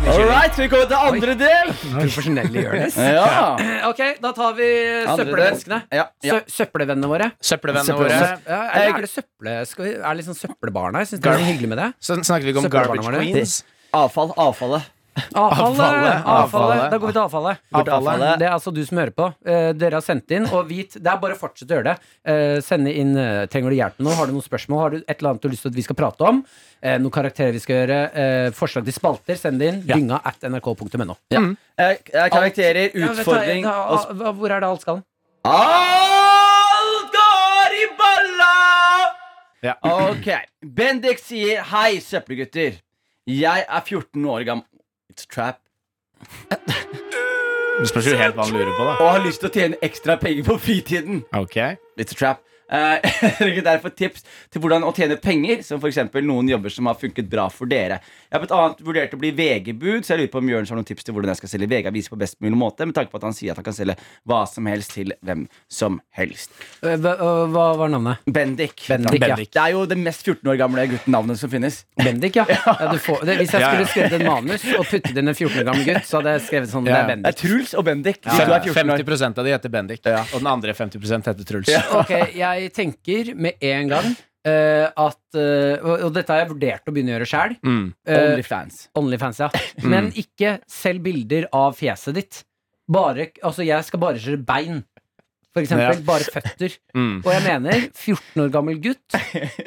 D: All right, skal vi komme til andre del?
C: Profesjonelle
E: (laughs)
C: Jonis.
D: Ja.
C: ok, da tar vi
D: Andre del.
C: søppelmenneskene.
D: Ja, ja.
C: Sø søppelvennene våre.
E: Søppelvennene
D: Søppelvenn.
E: våre.
C: Ja, er, er det søpple... Skal vi, er det liksom søppelbarna? Jeg syns det er så hyggelig med det.
E: Så snakket vi ikke om
C: Søppelbarna
E: garbage
C: våre.
E: queens.
D: Avfall. Avfallet.
C: Avfallet,
E: Avfallet,
C: avfallet,
E: avfallet.
C: Da går vi til avfallet.
D: Bort avfallet.
C: Det er altså du som hører på. Eh, dere har sendt inn, og vit Det er bare å fortsette å gjøre det. Eh, sende inn eh, Trenger du hjelp med noe? Har du noen spørsmål? Har du et eller annet du har lyst til at vi skal prate om? Eh, noen karakterer vi skal gjøre? Eh, forslag til spalter? Send det inn. Dynga at nrk.no.
D: Eh, eh, Karakterer, utfordring og sp-
C: Hvor er det alt skal?
D: Alt går i balla!
E: Ja.
D: Ok. Bendik sier hei, søppelgutter. Jeg er 14 år gammel It's a trap.
E: Det spørs jo helt hva han lurer på, da.
D: og har lyst til å tjene ekstra penger på fritiden.
E: Ok
D: It's a trap. Eh, (laughs) Jeg trenger derfor tips til hvordan å tjene penger, som f.eks. noen jobber som har funket bra for dere. Jeg har blant annet vurdert å bli VG-bud, så jeg lurer på om Jørn har noen tips til hvordan jeg skal selge VG-aviser på best mulig måte, med tanke på at han sier at han kan selge hva som helst til hvem som helst.
C: Eh, Hva, eh, hva var navnet?
D: Bendik.
C: Bendik, ja.
D: Det er jo det mest 14 år gamle guttenavnet som finnes.
C: Bendik, ja. (laughs) ja du får, det, hvis jeg
E: Ja, ja.
C: skulle skrevet en manus og puttet inn en 14 år gammel gutt, så hadde jeg skrevet sånn Det er
E: Ja, ja.
D: Det
C: Bendik.
D: er Truls og Bendik. De to er 14 år.
E: 50 av de heter Bendik, og den andre 50 heter Truls.
C: Ok, jeg tenker med en gang eh, at eh, og, og dette har jeg vurdert å begynne å gjøre sjæl.
E: Mm.
D: Onlyfans.
C: Onlyfans, ja.
D: Mm.
C: Men ikke selg bilder av fjeset ditt. Bare, altså, jeg skal bare kjøre bein. For eksempel.
E: Ja.
C: Bare føtter.
E: Mm.
C: Og jeg mener 14 år gammel gutt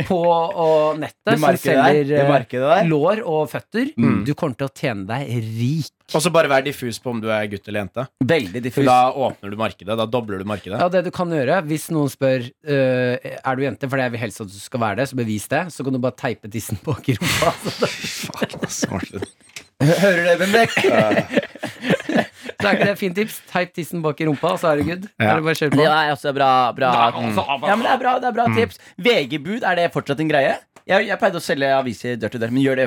C: på og nettet
D: Du
C: som
D: merker det der?
C: selger
D: Du
C: eh,
D: merker det der?
C: lår og føtter.
E: Mm.
C: Du kommer til å tjene deg rik.
E: Og så bare vær diffus på om du er gutt eller jente.
D: Veldig
E: For
D: diffus.
E: da åpner du markedet. Da dobler du markedet.
C: Ja, det du kan gjøre, hvis noen spør eh, Er du jente, for jeg vil helst at du skal være det, så bevis det. Så kan du bare teipe tissen bak i rumpa. (laughs)
D: Hører du det, Bendik?
C: (laughs) Så er ikke det et fint tips? Teip tissen bak i rumpa, så er det good.
E: Ja.
C: Eller bare kjør på.
D: Det er også bra, bra.
C: Mm.
D: Ja, men det er bra, det er bra tips. VG-bud, er det fortsatt en greie? Jeg, jeg pleide å selge aviser dør til dør, men gjør, det,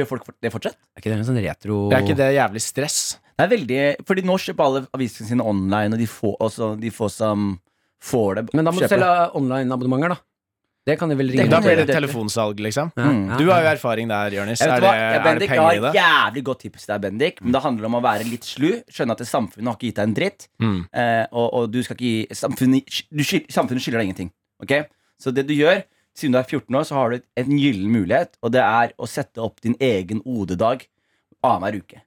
D: gjør folk for- det fortsatt?
C: Er ikke det en sånn retro
E: Det er ikke det jævlig stress.
D: Det er veldig, fordi nå kjøper alle avisene sine online, og de få, også, de få som får det,
C: Men da må du
D: kjøper
C: selge online-abonnementer, da. Det kan de vel
D: Det
C: ringe
E: Da
D: kan
C: til.
E: blir det telefonsalg, liksom.
C: Ja,
D: Mm.
C: ja,
E: Du har jo
C: ja.
E: erfaring der, Jonis.
D: Jeg
E: Er,
D: vet
E: det-
D: hva, jeg,
E: er det
D: Bendik, jeg
E: penger i
D: har et
E: det?
D: jævlig godt tips til deg, Bendik. Men det handler om å være litt slu. Skjønne at det samfunnet har ikke gitt deg en dritt.
E: Mm.
D: Eh, og, og du skal ikke gi Samfunnet, du skyld, samfunnet skylder deg ingenting. Ok? Så det du gjør, siden du er 14 år, så har du en gyllen mulighet, og det er å sette opp din egen OD-dag annenhver uke.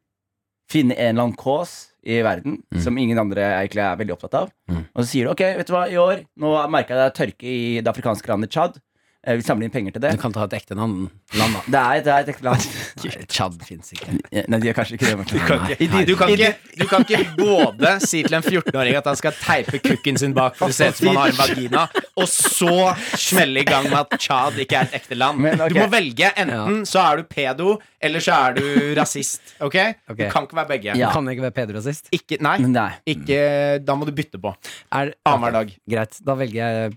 D: Finne en eller annen cause i verden
E: Mm.
D: som ingen andre egentlig er veldig opptatt av. Og så sier du ok, vet du hva, i år Nå merka jeg det er tørke i det afrikanske landet Tsjad. Eh, Vi samler inn penger til det.
C: Du kan ta et ekte navn.
E: (laughs)
C: Land, da.
D: Det er, det er et ekte land.
C: Nei, Tsjad fins ikke.
D: Ja, Nei, de er kanskje ikke det.
C: (laughs)
D: Martin.
E: I de- Du kan, ikke, du kan ikke både si til en 14-åring at han skal teipe kukken sin bak for det ser ut som han har en vagina, og så smelle i gang med at Tsjad ikke er et ekte land.
D: Men, ok.
E: Du må velge. Enten så er du pedo, eller så er du rasist. Ok?
C: Ok.
E: Du kan ikke være begge.
C: Du kan ikke være pedorasist.
E: Ikke, nei,
D: Men nei.
E: ikke Da må du bytte på.
C: Er-
E: Annenhver dag.
C: Greit, da velger jeg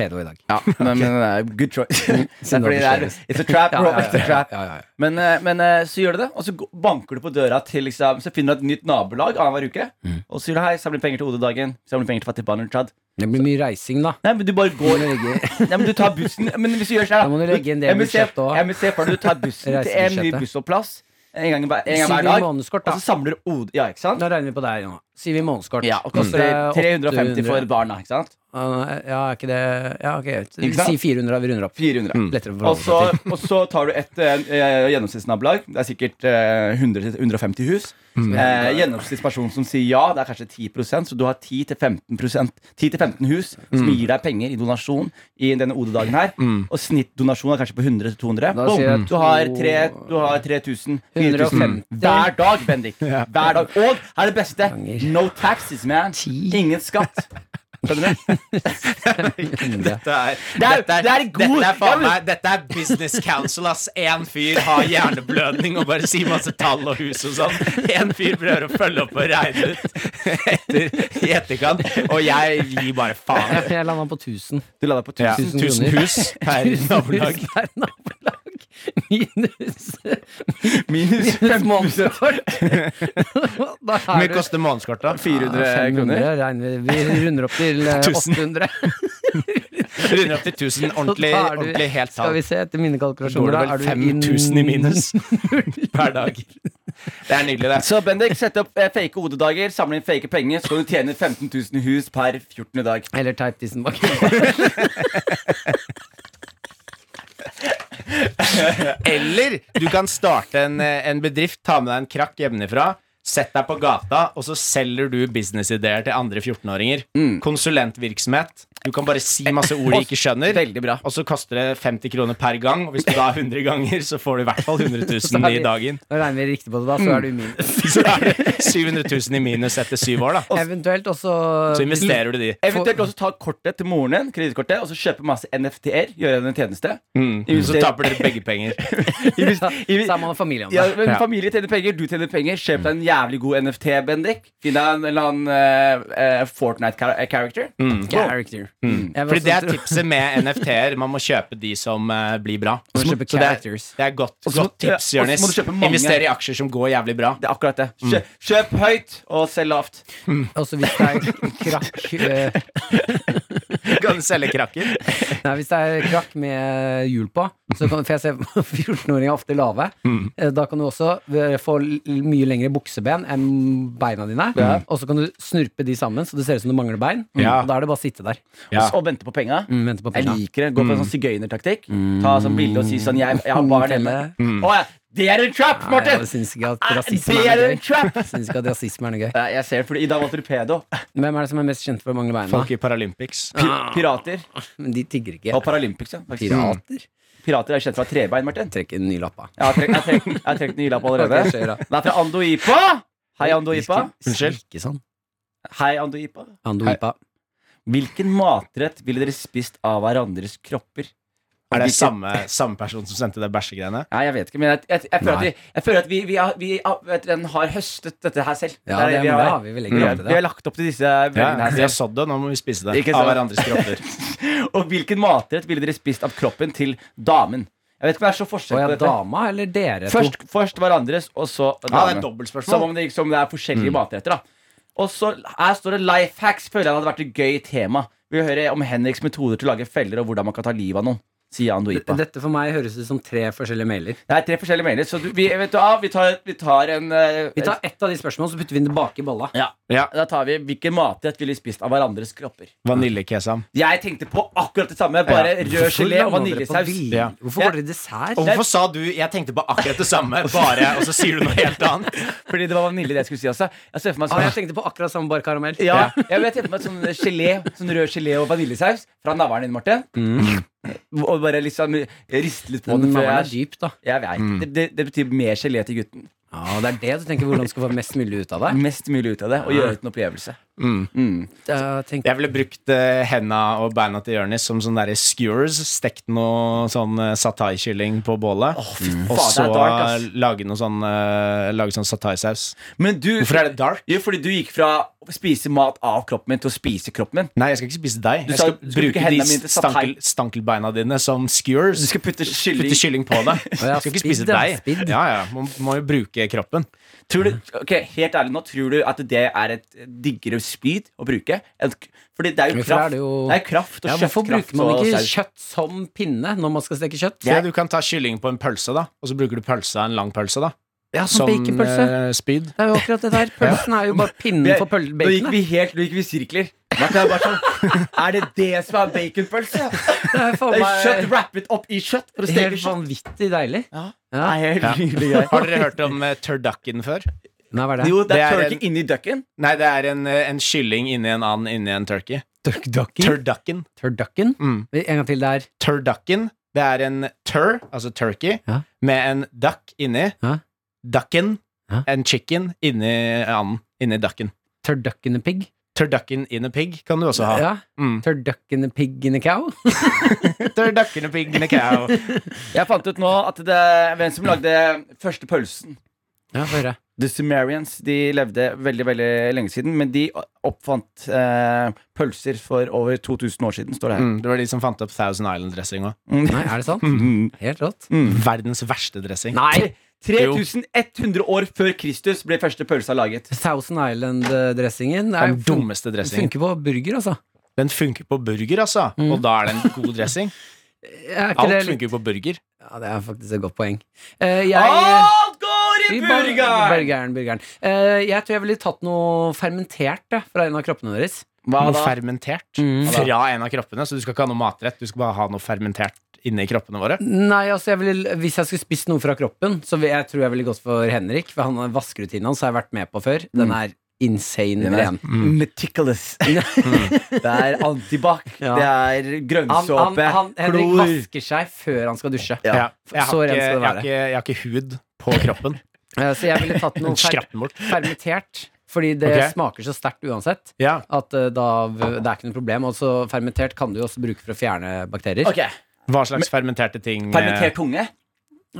C: pedo i dag.
D: Ja, men, men det er good
C: (laughs)
D: choice. det er fordi det er, it's a trap, bro. It's a trap.
C: ja, ja, ja.
D: Men, eh, men eh, så gjør du det, og så gå- banker du på døra til liksom, Så finner du et nytt nabolag annenhver uke.
C: Mm.
D: Og så sier du hei, samler penger til OD-dagen. Samler penger til fattige barn under Tsjad.
C: Det blir mye reising, da.
D: Nei, men du
C: (laughs)
D: bare går Nei, men du tar bussen. Men hvis du gjør sånn
C: Da må du legge inn det
D: Jeg må se-
C: budsjettet også.
D: Jeg må se for deg du tar
C: (laughs)
D: bussen til en ny
C: Reisebudsjettet.
D: bussholdeplass en gang, hver- en gang
C: Sier
D: hver
C: vi
D: dag.
C: månedskort, da.
D: Og så samler du OD Ja, ikke sant?
C: Da regner vi på deg, Jonna. Sier vi månedskort.
D: Ja, og koster
C: Mm.
D: 350 for
C: 800.
D: barna, ikke sant?
C: Ah, Ja, er ikke det Ja, ok.
D: Ikke sant?
C: Si 400, da. Vi runder opp. Mm.
D: 400.
E: Mm.
C: Lettere å
D: Og
C: forholde
E: Altså,
D: så,
C: seg til.
D: og så tar du et eh, gjennomsnittsnabolag. Det er sikkert eh, 100 til 150 hus. Eh, gjennomsnittspersonen som sier ja, det er kanskje 10 så du har 10-15 10-15 hus som gir deg penger i donasjon i denne OD-dagen her. Og snittdonasjon er kanskje på 100-200.
C: Da sier jeg
D: Du har tre- du har 3000, 4000
C: 150.
D: hver dag, (laughs) Bendik. Hver dag. Og her er det beste.
C: Ganger.
D: No taxes, man. Ingen skatt. Skjønner du?
E: Dette er,
D: er- (laughs) det er god-
E: dette er,
D: Ja,
E: faen
D: men-
E: meg, dette er business council, ass. Én fyr har hjerneblødning og bare sier masse tall og hus og sånn. Én fyr prøver å følge opp og regne ut etter, i etterkant, og jeg gir bare faen.
C: Jeg landa på 1000.
D: Du la deg på 1000.
E: Ja,
C: Tusen
E: tusen
C: kroner.
E: hus per nabolag.
C: Per nabolag.
E: (laughs)
C: Minus
D: (laughs) Minus
C: Minus månedskort. (laughs) Da er
E: Hvor mye
C: du-
E: koster månedskortet?
D: 400
C: 500
D: kroner.
C: regner vi. Vi runder opp
E: (laughs)
C: til eh,
E: 1000.
C: 800.
E: Runder opp til 1000.
C: Så
E: Ordentlig,
C: da er du-
E: ordentlig helt
C: Skal
E: tall.
C: vi se, etter mine kalkulasjoner
E: Går det
C: da er
E: vel
C: du
E: 5000 i
C: inn-
E: minus per dag? Det er nydelig, det.
D: Så Bendik, sett opp eh, fake hodedager, samle inn fake penger, så kan du tjene 15 000 i hus per 14. dag.
C: (laughs) Eller teip tissen
E: (laughs)
C: bak.
E: Eller du kan starte en, eh, en bedrift, ta med deg en krakk hjemmefra, sett deg på gata, og så selger du businessideer til andre 14-åringer.
D: Mm.
E: Konsulentvirksomhet. Du kan bare si masse ord de ikke skjønner,
D: Veldig bra.
E: og så koster det 50 kroner per gang. Og hvis du da er 100 ganger, så får du i hvert fall 100
C: Da
D: (laughs)
C: er
E: 000
C: vi-
E: i dagen.
C: Da regner vi riktig på det, da, så er du i minus.
E: Så er det 700 000 i minus etter syv år, da.
C: Eventuelt også
E: Mm. Så investerer du de.
D: Eventuelt også ta kortet til moren din, kredittkortet, og så kjøpe masse NFT-er. Gjøre henne en tjeneste.
E: Mm. Så taper dere begge penger.
C: (laughs) Så er man familie om
D: Ja,
C: det.
D: men
E: Ja. Mm.
D: Familie tjener penger, du tjener penger. Kjøp deg en jævlig god NFT, Bendik. Finn deg en eller annen eh, eh, Fortnite-character.
E: Mm.
C: Character. Jeg vil
E: Fordi
C: også
E: det er
C: tro-
E: tipset med (laughs) NFT-er. Man må kjøpe de som eh, blir bra.
C: Man må kjøpe
E: Så det, er,
C: characters.
E: det er godt,
D: så må-
E: godt tips,
D: ja, og så
E: Jonis.
D: må du kjøpe mange.
E: Investere i aksjer som går jævlig bra.
D: Det er akkurat det.
E: Mm.
D: Kjøp, kjøp høyt og selg lavt.
C: Også hvis det er krakk eh,
E: Du (laughs) kan (laughs) selge krakker.
C: Nei, hvis det er krakk med hjul på, så kan, for jeg ser (laughs) 14-åringer er ofte lave, Eh, da kan du også eh, få l- mye lengre bukseben enn beina dine, og så kan du snurpe de sammen, så det ser ut som du mangler bein,
E: Ja.
C: og da er det bare å sitte der.
E: Ja.
D: Og vente på penga.
C: Mm, vente på
D: Jeg
C: penga.
D: liker det. Gå på en
C: Mm.
D: sånn sigøynertaktikk. Ta sånn bilde og si sånn Jeg, jeg har barn hjemme. Å ja! Det er en trap,
C: Nei,
D: Martin!
C: Mm. Jeg syns ikke at
D: Ah,
C: rasisme
D: det
C: er
D: er
C: noe
D: en
C: gøy.
D: trap!
C: Jeg Syns ikke at rasisme er noe gøy.
D: Nei, Jeg ser det, fordi Ida var torpedo.
C: Hvem er det som er mest kjent for å mangle beina?
E: Folk i Paralympics.
D: Pi- Pirater.
C: Men de tigger ikke.
D: Og Paralympics, ja. faktisk. Mm.
C: Pirater?
D: Pirater er kjent fra trebein, Martin.
C: Trekker en ny lapp av.
D: Jeg har trekt, jeg har trekt, jeg har trekt en ny lapp allerede.
C: Ok, kjør da.
D: Den er fra Andoipa. Hei, Andoipa.
C: Unnskyld. Ikke sånn.
D: Hei, Andoipa.
C: Andoipa.
D: Hvilken matrett ville dere spist av hverandres kropper?
E: Er det
D: Hvilken-
E: samme, samme person som sendte det bæsjegreiene?
D: Nei, jeg vet ikke, men jeg, jeg, jeg, føler, at
C: Nei.
D: vi, jeg føler at vi, vi, har, vi har, vet, dere, har høstet dette her selv.
C: Ja, det,
D: er- Mm. vi,
C: men
D: har,
C: det har vi vel
D: vi,
C: egentlig
D: har,
C: alltid
D: vi
C: det.
D: har lagt opp til disse veggene
E: Vi har
D: her selv.
E: sådd det, nå må vi spise det.
D: Ikke
E: Av
D: sant?
E: hverandres (laughs) kropper.
D: Og hvilken matrett ville dere spist av kroppen til damen? Jeg vet ikke om det er så forskjell
C: Og
D: på
C: ja,
D: dette.
C: dama eller dere to?
D: Først, først hverandres, og så
E: Ja, det er et
D: damen. Som
E: dobbeltspørsmål.
D: om det, liksom, det er
C: Mm.
D: forskjellige matretter. da Og så Her står det life hacks. Føler jeg det hadde vært et gøy tema. Vi vil høre om Henriks metoder til å lage feller, og hvordan man kan ta livet av noen. Sier Andoipa. Det,
C: Dette for meg høres ut som tre forskjellige mailer.
D: er tre forskjellige meninger, så du, vi, vet du hva, vi tar, vi tar en eh,
C: Vi tar ett av de spørsmålene, så putter vi den tilbake i bolla.
D: ja.
E: Ja.
D: Da tar vi hvilken matrett ville vi spist av hverandres kropper.
E: Vaniljekesam.
D: Jeg tenkte på akkurat det samme, bare rød gelé og vaniljesaus.
E: Ja.
C: Hvorfor går dere i dessert?
E: Og hvorfor sa du 'jeg tenkte på akkurat det (laughs) samme', bare, og så sier du noe helt annet?
D: Fordi det var vanilje det jeg skulle si også. Jeg ser for meg
C: Ah, jeg
D: sånn
C: tenkte på akkurat samme bar karamell.
D: ja, jeg vet jeg tenkte meg sånn gelé Sånn rød gelé og vaniljesaus fra navlen din, Martin. Og bare liksom riste litt på
C: Mm. Den
D: den.
C: navlen
D: før
C: Mm. er
D: jeg-
C: dyp, da.
D: Jeg vet. Det, det, det betyr mer gelé til gutten.
C: Ja, det er det du tenker hvordan du skal få mest mulig ut av det.
D: Mest mulig ut av det, og gjøre det til en opplevelse.
C: Jeg tenkte-
E: Jeg ville brukt eh, henda og beina til Jonis som sånne der skewers. Stekt noe sånn eh, satai-kylling på bålet. Mm.
D: faen,
E: og så
D: det er dark, ass.
E: eh, lage noe sånn eh, Lage sånn satai-saus.
D: Men du
E: Hvorfor er det dark?
D: Jo, fordi du gikk fra å spise mat av kroppen min til å spise kroppen min.
E: Nei, jeg skal ikke spise deg.
D: Du
E: Jeg
D: sa-
E: skal,
D: du skal
E: bruke
D: bruke
E: de
D: hendene mine til
E: stankel,
D: satay.
E: stankelbeina dine som skewers.
D: Du skal putte kylling
E: Putte kylling på
D: (laughs)
E: deg. Jeg
C: ja,
E: skal ikke
C: spidd,
E: spise
C: ja,
E: deg.
C: spidd.
E: Ja, ja, Man må jo bruke kroppen.
D: Tror du, ok, Helt ærlig nå, tror du at det er et diggere spyd å bruke? En k- Fordi det er jo
C: Hvorfor er
D: kraft.
C: det jo-
D: Det er kraft og
C: Ja, hvorfor
D: kjøttkraft
C: bruker man
D: og
C: ikke
D: saus.
C: kjøtt som pinne når man skal steke kjøtt?
E: Så du kan ta kylling på en pølse, da og så bruker du pølsa en lang pølse. da
D: sånn
C: Ja, som,
E: som
C: baconpølse.
E: eh, spyd.
C: Det er jo akkurat
D: (laughs)
C: det der. Pølsen er jo bare pinnen
D: Vi-
C: for pøl-
D: Nå gikk
C: baconet.
D: vi helt Nå gikk vi i sirkler. Martin er bare sånn Er det det som er (laughs) baconpølse?
C: Det er faen
D: Det er kjøtt
C: meg
D: wrappet opp i kjøtt for å steke
C: helt
D: kjøtt.
C: vanvittig deilig.
D: Ja.
C: Ja.
D: Nei, helt
E: Ja.
D: nydelig greier.
E: Har dere hørt om eh, turducken før?
C: Nei, hva er det?
D: (laughs) Jo, det
E: Det
D: er
E: er en-
D: turkey inni ducken.
E: Nei, det er en, eh, en kylling inni en and inni en turkey.
C: Turducken?
E: Turducken.
C: Turducken?
E: Mm.
C: En gang til der.
E: Turducken. Det er en tur, altså turkey,
C: Ja.
E: med en duck inni.
C: Ja.
E: Ducken.
C: Ja.
E: En chicken inni anden. Inni ducken.
C: Turducken and pig.
E: Turducken in a pig kan du også ha.
C: Ja.
E: Mm.
C: Turducken and pig in a cow.
E: Turducken and pig in a cow.
D: Jeg fant ut nå at det er hvem som lagde første pølsen.
C: (laughs) Ja, få høre.
D: The Sumerians de levde veldig veldig lenge siden, men de oppfant eh, pølser for over 2000 år siden, står det her.
E: Mm, det var de som fant opp Thousand Island-dressing òg.
D: Mm. (laughs)
C: Nei, er det sant? (laughs) Helt rått.
E: Verdens verste dressing.
C: Nei!
D: 3100 år før Kristus ble første pølsa laget.
C: Thousand Island-dressingen er
E: Den
C: jo fun-
E: dummeste dressingen.
C: funker på burger, altså.
E: Den funker på burger, altså. Og da er det en god
C: (laughs)
E: dressing.
C: Er ikke det
E: Alt
C: litt
E: funker på burger.
C: Ja, det er faktisk et godt poeng. Eh, jeg
D: Alt går i
C: Vi bare-
D: burgeren!
C: Burgeren, burgeren. Eh, jeg tror jeg ville tatt noe fermentert jeg, fra en av kroppene deres.
D: Hva
E: Noe
D: da?
E: fermentert fra en av kroppene. Så du skal ikke ha noe matrett, du skal bare ha noe fermentert inni kroppene våre.
C: Nei, altså jeg ville, Hvis jeg skulle spist noe fra kroppen, så vil- jeg tror jeg ville gått for Henrik. For han vaskerutinen hans har jeg vært med på før. Den Mm. er insane
D: Den er-
C: ren.
D: (laughs) Meticulous. Mm. Det er antibac,
C: (laughs) Ja.
D: det er
C: Han, han,
D: grønnsåpe,
C: han, Henrik
D: klor
C: vasker seg før han skal dusje.
D: Ja.
E: Ja. Jeg,
C: Så
E: har
C: ren
E: ikke,
C: skal det
E: jeg, har
C: være.
E: ikke, jeg har ikke hud på kroppen.
C: Eh, så jeg ville tatt (laughs) noe fer
E: Skrapp den bort.
C: fermentert. Fordi det
E: Ok.
C: smaker så sterkt uansett
E: Ja.
C: at eh, da, v- det er ikke noe problem. Og så fermentert kan du jo også bruke for å fjerne bakterier.
D: Ok,
E: Hva slags fermenterte ting eh,
D: Fermentert tunge.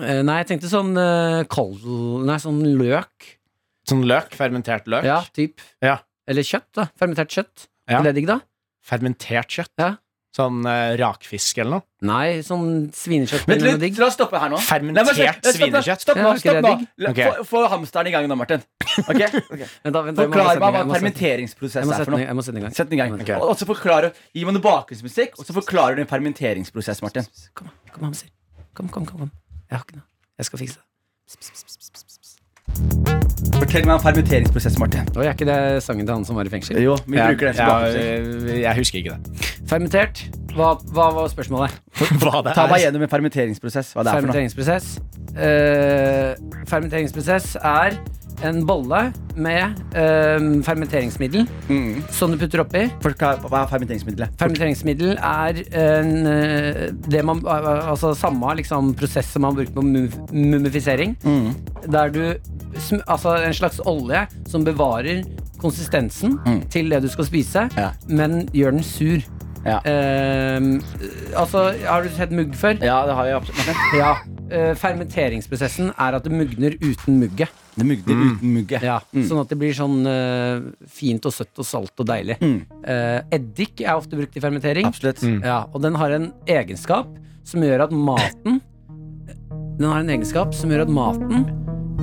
C: Eh, nei, jeg tenkte sånn uh, kald Nei, sånn løk.
E: Sånn løk? Fermentert løk?
C: Ja, typ.
E: Ja.
C: Eller kjøtt, da. Fermentert kjøtt.
E: Ja.
C: Er det digg, da?
E: Fermentert kjøtt?
C: Ja.
E: Sånn eh, rakfisk eller noe?
C: Nei, sånn svinekjøtt
D: Vent
C: blir noe
D: litt,
C: digg.
D: la oss stoppe her nå. Nei, men
E: Fermentert
D: stopp, stopp,
E: svinekjøtt?
D: Stopp nå.
C: Ja, ok,
D: stopp
C: det er
D: nå.
C: digg.
D: La-
E: Ok.
D: Få, få hamsteren i gang nå,
C: (laughs)
D: Martin. Ok? Ok.
C: Vent da, vent da, jeg må
D: Forklar
C: sette den i gang,
D: meg hva
C: jeg må sette- Jeg
D: fermenteringsprosess
C: må
D: er
C: sette den
D: for
C: i-
D: noe.
C: jeg må sette den i gang.
D: Sett den i gang.
C: Ok.
D: Og så forklare, Gi meg noe bakgrunnsmusikk, og så forklarer du en fermenteringsprosess, Martin.
C: Kom, da, kom, Hamser. Kom, kom, kom, kom. Jeg har ikke noe. Jeg skal fikse det.
D: Fortell meg om fermenteringsprosess, Martin.
C: Oi, er ikke det sangen til han som var i fengsel?
D: Jo, vi
E: Jeg,
D: bruker den som
E: jeg,
D: bakgrunnsmusikk.
E: eh, jeg husker ikke det.
C: Fermentert. Hva, hva var spørsmålet?
E: (laughs) Hva det
D: Ta meg
E: er.
D: gjennom en fermenteringsprosess. Hva det er for noe.
C: Fermenteringsprosess. Eh, fermenteringsprosess er en bolle med eh, fermenteringsmiddel
D: Mm.
C: som du putter oppi.
D: Forklar- Hva er fermenteringsmiddelet?
C: Fermenteringsmiddel er en, eh, det man, altså samme liksom, prosess som man bruker på mum- mumifisering.
D: Mm.
C: Der du sm- Altså en slags olje som bevarer konsistensen til det du skal spise,
D: Mm. Ja.
C: men gjør den sur.
D: Ja.
C: Eh, altså, har du sett mugg før?
D: Ja, det har jeg absolutt. Martin.
C: Ja. Eh, fermenteringsprosessen er at det mugner uten mugget.
D: Det mugde
E: Mm.
D: uten mugge.
C: Ja, Sånn at det blir sånn eh, fint og søtt og salt og deilig. Eh, eddik er ofte brukt i fermentering.
D: Absolutt.
E: Mm.
C: Ja, og den har en egenskap som gjør at maten Den har en egenskap som gjør at maten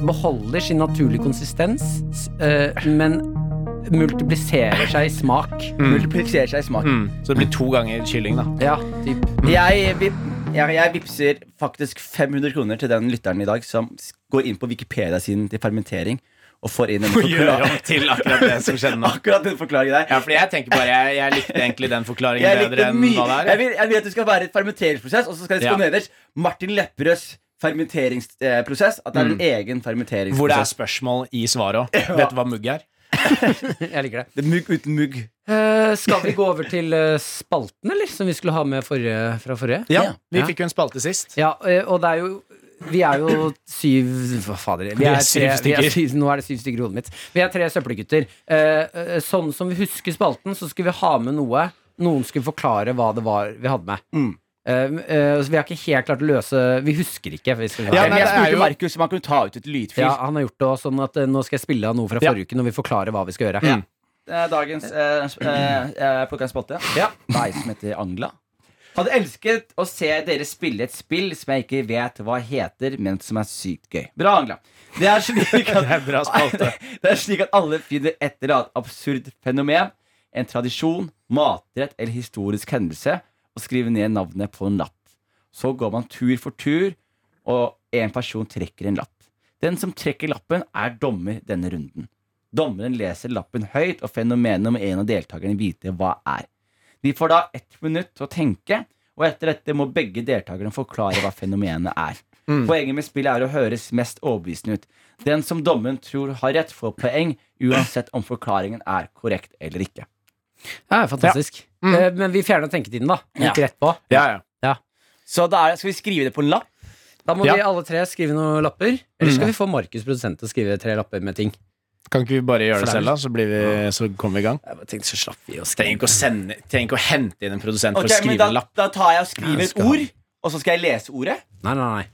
C: beholder sin naturlige konsistens, s- eh, men multipliserer seg i smak.
D: Mm. Multipliserer seg i smak.
E: Mm. Så det blir to ganger kylling, da.
C: Ja, typ.
D: Jeg, vip- jeg, jeg vipser faktisk 500 kroner til den lytteren i dag som s- går inn på Wikipedia-siden til fermentering og får inn en
E: Gjør
D: forklaring.
E: om til (laughs) akkurat det som skjedde nå.
D: (laughs) Akkurat den forklaringen der.
E: Ja, fordi jeg tenker bare Jeg, jeg likte egentlig den forklaringen
D: Jeg,
E: bedre
D: likte
E: enn
D: mye.
E: hva det
D: jeg,
E: er.
D: vil, jeg vil at det skal være et fermenteringsprosess, og så skal det stå
E: Ja.
D: nederst Martin Lepperøds fermenteringsprosess. At det er en
E: Mm.
D: egen
E: Hvor det er
D: fermenteringsprosess.
E: spørsmål i svaret òg. Vet du hva mugg er?
C: Jeg liker det.
D: Det er mugg uten mugg.
C: Eh, skal vi gå over til eh, spalten, eller? Som vi skulle ha med forrige, fra forrige?
E: Ja,
D: Ja.
E: Vi
C: Ja.
E: fikk jo en spalte sist.
C: Ja, eh, og det er jo vi er jo syv Hva fader? Vi
E: er
C: er
E: syv
C: tre, vi er
E: stykker.
C: syv, nå er det syv stykker i hodet mitt. Vi er tre søppelgutter. Eh, eh, sånn som vi husker spalten, så skulle vi ha med noe. Noen skulle forklare hva det var vi hadde med.
E: Mm.
C: Eh, eh, så vi har ikke helt klart å løse Vi husker ikke. Vi skal,
E: Ja,
D: Ja,
E: nei,
D: men jeg
E: det er
D: spurte
E: jo-
D: Markus om han kunne ta ut et lydfil.
C: ja, han har gjort det også, sånn at eh, nå skal jeg spille av noe fra
E: Ja.
C: forrige uke når vi forklarer hva vi skal gjøre.
E: Mm.
D: Eh, Dagens eh, sp- eh, eh, plukka en spotte. Ja. Deg som heter Angla. Hadde elsket å se dere spille et spill som jeg ikke vet hva heter, men som er sykt gøy. Bra, Angla. Det er (laughs) slik at,
E: Det er bra spalte.
D: (laughs) det er slik at alle finner et eller annet absurd fenomen, en tradisjon, matrett eller historisk hendelse, og skriver ned navnet på en lapp. Så går man tur for tur, og en person trekker en lapp. Den som trekker lappen, er dommer denne runden. Dommeren leser lappen høyt, og fenomenet om en av deltakerne vite hva er. De får da ett minutt til å tenke, og etter dette må begge deltakerne forklare hva fenomenet er. Poenget med spillet er å høres mest overbevisende ut. Den som dommeren tror har rett, får poeng, uansett om forklaringen er korrekt eller ikke.
C: Ja, fantastisk. Eh, Men vi fjerna tenketiden, da. Gikk rett på.
E: (laughs) Mm. Ja, ja.
D: Så da er, skal vi skrive det på en lapp?
C: Da må
E: Ja. Mm.
C: vi alle tre skrive noen lapper. Eller skal vi få Markus produsent til å skrive tre lapper med ting?
E: Kan ikke vi bare gjøre det
C: For det er
E: selv, da? Så, blir vi, så kommer vi i gang.
C: Jeg tenkte så slapp vi oss
E: Trenger ikke å, sende, trenger ikke å hente inn en produsent
D: Ok,
E: for å
D: men
E: skrive
D: da,
E: en lapp.
D: da tar jeg og skriver
E: Ja,
D: et
E: skal ha.
D: ord, og så skal jeg lese ordet.
C: Nei, nei, nei.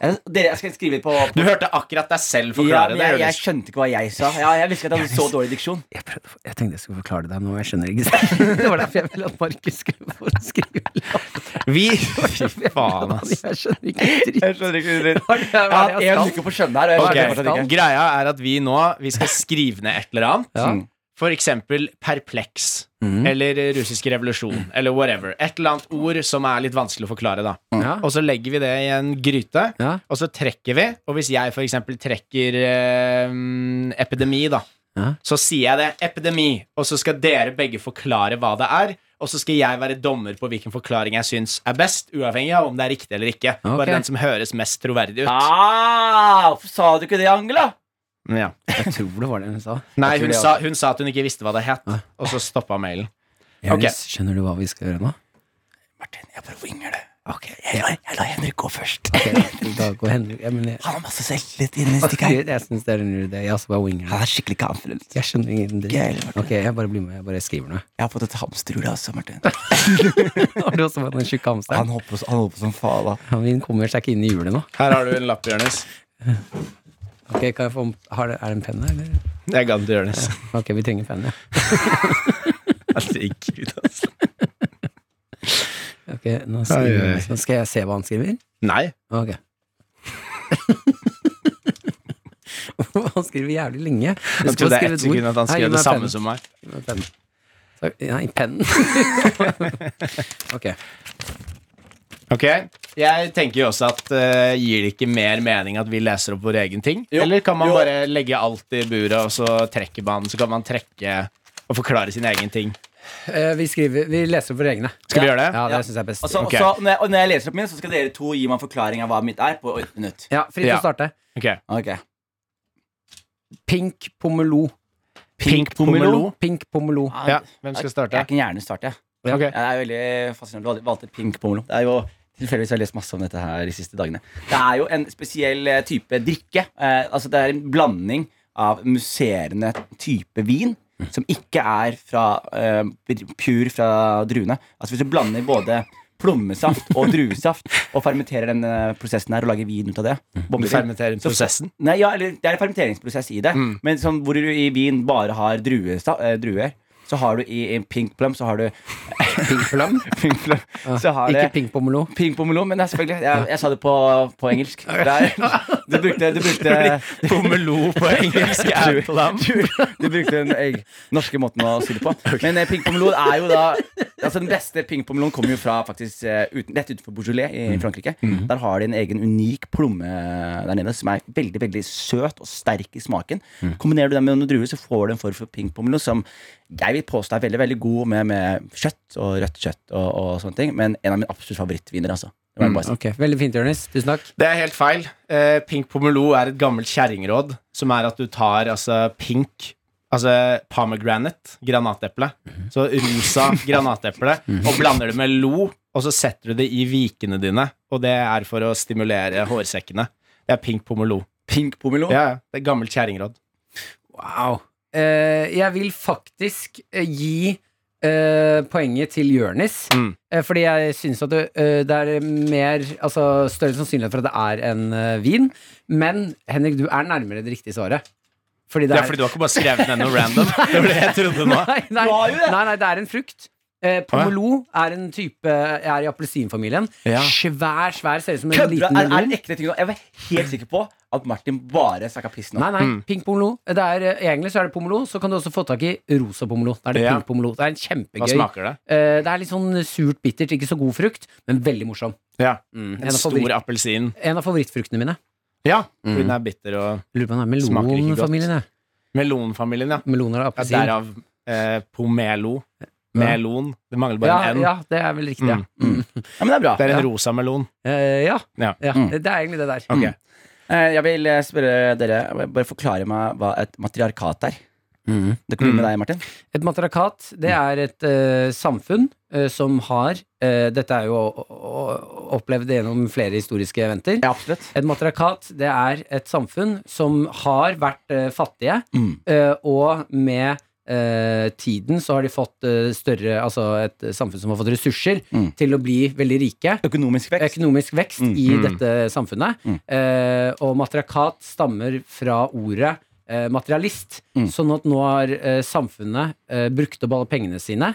D: Jeg, dere, jeg skal skrive på,
E: Du hørte akkurat deg selv
D: ja,
E: forklare
D: men jeg,
E: det.
D: jeg skjønte ikke hva jeg sa. Ja, jeg visste ikke at jeg hadde så dårlig diksjon.
C: Jeg, prøvde, jeg tenkte jeg skulle forklare deg nå, jeg skjønner ikke (laughs) selv. Det var derfor jeg ville at Markus skulle få skrive lapp.
E: (laughs) Høres. Vi Fy faen, ass.
C: Jeg skjønner ikke dritt.
D: skjønner ikke
C: Hva er det
D: Jeg har
C: jeg
D: en
C: skal?
D: uke på skjønnet her. Og jeg
E: Ok,
D: skjønner fortsatt ikke.
E: Greia er at vi nå Vi (laughs) skal skrive ned et eller annet.
C: Ja.
E: For eksempel perpleks eller russisk revolusjon eller whatever. Et eller annet ord som er litt vanskelig å forklare, da.
C: Ja.
E: Og så legger vi det i en gryte,
C: Ja.
E: og så trekker vi. Og hvis jeg for eksempel trekker eh, epidemi, da,
C: Ja.
E: så sier jeg det. Epidemi. Og så skal dere begge forklare hva det er. Og så skal jeg være dommer på hvilken forklaring jeg syns er best, uavhengig av om det er riktig eller ikke.
C: Ok.
E: Bare den som høres mest troverdig ut.
D: Ah, hvorfor sa du ikke det, Angela?
E: Ja.
C: Jeg tror det var det hun sa.
E: Nei,
D: Jeg tror
E: hun
D: det
E: sa, hun sa at hun ikke visste hva det het, og så stoppa mailen. Ok.
C: Jonis, skjønner du hva vi skal gjøre nå?
D: Martin, jeg prøver å vingle det. Jeg, lar- jeg lar Henrik gå først.
C: Da går Henrik ja, men jeg,
D: Han har masse selvtillit inni
C: Ok, jeg syns det er en idé. Jeg også bare winger.
D: (laughs) Han er skikkelig confident.
C: Jeg skjønner ingen dritt.
D: Gøy, Martin.
C: Ok, jeg bare blir med. Jeg bare skriver noe.
D: Jeg har fått et hamsterhjul, jeg også, Martin.
C: Har du også fått den tjukke hamsteren?
D: (laughs) Han holder på, han holder på som faen. da.
C: Han min kommer seg ikke inn i hjulet nå.
E: Her har du en lapp, Jonis.
C: Ok, kan jeg få, har det, Er det en penn her, eller?
E: Jeg gadd til Jonis.
C: Ok, vi trenger penn, ja.
E: Herregud, altså.
C: Ok, nå, skriver,
E: Oi, oi, oi.
C: nå skal jeg se hva han skriver.
E: Nei.
C: Ok. (laughs) han skriver jævlig lenge.
E: Jeg trodde det er ett sekund at han skrev det samme som meg.
C: Pennen. Så- Nei, pennen. (laughs) ok.
E: Ok, Jeg tenker jo også at eh, gir det ikke mer mening at vi leser opp vår egen ting? Eller kan man
D: Jo.
E: bare legge alt i buret, og så trekker man, så kan man trekke og forklare sin egen ting?
C: Eh, vi, skriver, vi leser opp våre egne.
E: Skal vi gjøre det?
C: Ja, det
D: Ja.
C: syns jeg er best.
D: Og Altså, så,
E: Ok.
D: og, så, når jeg, og når jeg leser opp min, så skal dere to gi meg en forklaring av hva mitt er, på et minutt.
C: Ja, Fritt til
E: Ja.
C: å starte.
E: Ok.
D: Ok.
C: Pink pomelo.
E: Pink pomelo.
C: Pink pomelo.
E: Ja, hvem skal starte?
D: Jeg kan gjerne starte. jeg.
E: Ok.
D: Jeg er veldig fascinert. Du valgte- valgte pink pomelo. Det er jo Tilfeldigvis har jeg lest masse om dette her de siste dagene. Det er jo en spesiell eh, type drikke. Eh, altså Det er en blanding av musserende type vin som ikke er fra eh, pur fra druene. Altså Hvis du blander både plommesaft og druesaft og fermenterer den eh, prosessen her og lager vin ut av det boblevin,
E: Fermenterer
D: så-
E: prosessen.
D: Nei, ja, eller Det er en fermenteringsprosess i det. Men sånn, hvor du i vin bare har druesa, eh, druer, så har du i, i pink plum Så har du
C: Pink plum.
D: pink plum Så har
C: Ikke
D: det
C: pink pomelo.
D: pink pomelo, men det er selvfølgelig Jeg, jeg sa det på, på engelsk. Det er- du brukte, du brukte
E: Pomelo på engelsk er plum.
D: du brukte den eh, norske måten å si det på. Men eh, pink pomelo er jo da Altså Den beste pink pomeloen kommer jo fra faktisk eh, uten, rett utenfor Beaujolais i
C: Mm.
D: Frankrike. Der har de en egen unik plomme eh, der nede som er veldig veldig søt og sterk i smaken.
C: Mm.
D: Kombinerer du den med noen druer, så får du en form for pink pomelo som jeg vil påstå er veldig veldig god med, med kjøtt og rødt kjøtt og, og sånne ting. Men en av mine absolutt favorittviner, altså. Det
C: Mm.
D: må jeg bare si.
C: Ok, Veldig fint, Jonis. Tusen takk.
E: Det er helt feil. Eh, pink pomelo er et gammelt kjerringråd, som er at du tar altså pink Altså pomegranate, granateple. Så rosa (laughs) granateple, og blander det med lo, og så setter du det i vikene dine. Og det er for å stimulere hårsekkene. Det er pink pomelo.
D: Pink pomelo.
E: Ja, ja, det er gammelt kjerringråd.
C: Wow. Eh, jeg vil faktisk eh, gi eh, poenget til Jørnis.
E: Mm.
C: Eh, fordi jeg syns at det, eh, det er mer Altså større sannsynlighet for at det er en eh, vin. Men Henrik, du er nærmere det riktige svaret. Fordi
E: Det er fordi du har ikke bare skrevet ned noe (laughs) random. Det var det jeg trodde nå.
C: (laughs) Nei, nei,
D: Du har jo det!
C: nei, nei, det er en frukt. Eh, pomelo er en type Er i appelsinfamilien.
E: Ja.
C: Svær, svær, ser ut som en
D: Kødder du?
C: liten
D: Er, er det
C: melon.
D: en ekte ting nå? Jeg var helt sikker på at Martin bare snakka piss nå.
C: Nei, nei, pink pomelo. Det er, eh, egentlig så er det pomelo. Så kan du også få tak i rosa pomelo. Da er det
E: Ja.
C: pink pomelo. Det er en kjempegøy
E: Hva smaker det?
C: Eh, Det er litt sånn surt, bittert, ikke så god frukt, men veldig morsom.
E: Ja.
C: En,
E: Mm. En
C: av favoritt,
E: stor appelsin.
C: en av favorittfruktene mine.
E: Ja, Mm. hun er bitter og
C: Lurer på om det er
E: Smaker ikke godt.
C: melonfamilien, jeg.
E: Melonfamilien, ja.
C: Meloner og
E: ja
C: appelsin.
E: derav eh, pomelo. Melon. Det mangler bare
C: ja,
E: en N.
C: ja, det er vel riktig, ja.
E: Mm.
C: Mm.
D: Ja, men det er bra.
E: Det er en
C: Ja.
E: rosa melon.
C: Eh, ja.
E: Ja.
C: ja.
D: Mm.
C: Det er egentlig det der.
E: Ok.
C: Mm.
D: Eh, Jeg vil eh, spørre dere, bare forklare meg hva et matriarkat er.
E: Mm.
C: Mm.
D: Det kommer med deg, Martin.
C: Et matriarkat, det er et eh, samfunn eh, som har eh, Dette er jo o- o- opplevd gjennom flere historiske eventer.
D: Ja, absolutt.
C: Et matriarkat, det er et samfunn som har vært eh, fattige,
D: Mm.
C: eh, og med eh, tiden så har de fått eh, større Altså et samfunn som har fått ressurser
D: Mm.
C: til å bli veldig rike.
D: Økonomisk vekst.
C: Økonomisk vekst
D: Mm.
C: i
E: Mm.
C: dette samfunnet.
D: Mm.
C: Eh, og matriarkat stammer fra ordet eh, materialist.
D: Mm.
C: Sånn at nå har eh, samfunnet eh, brukt opp alle pengene sine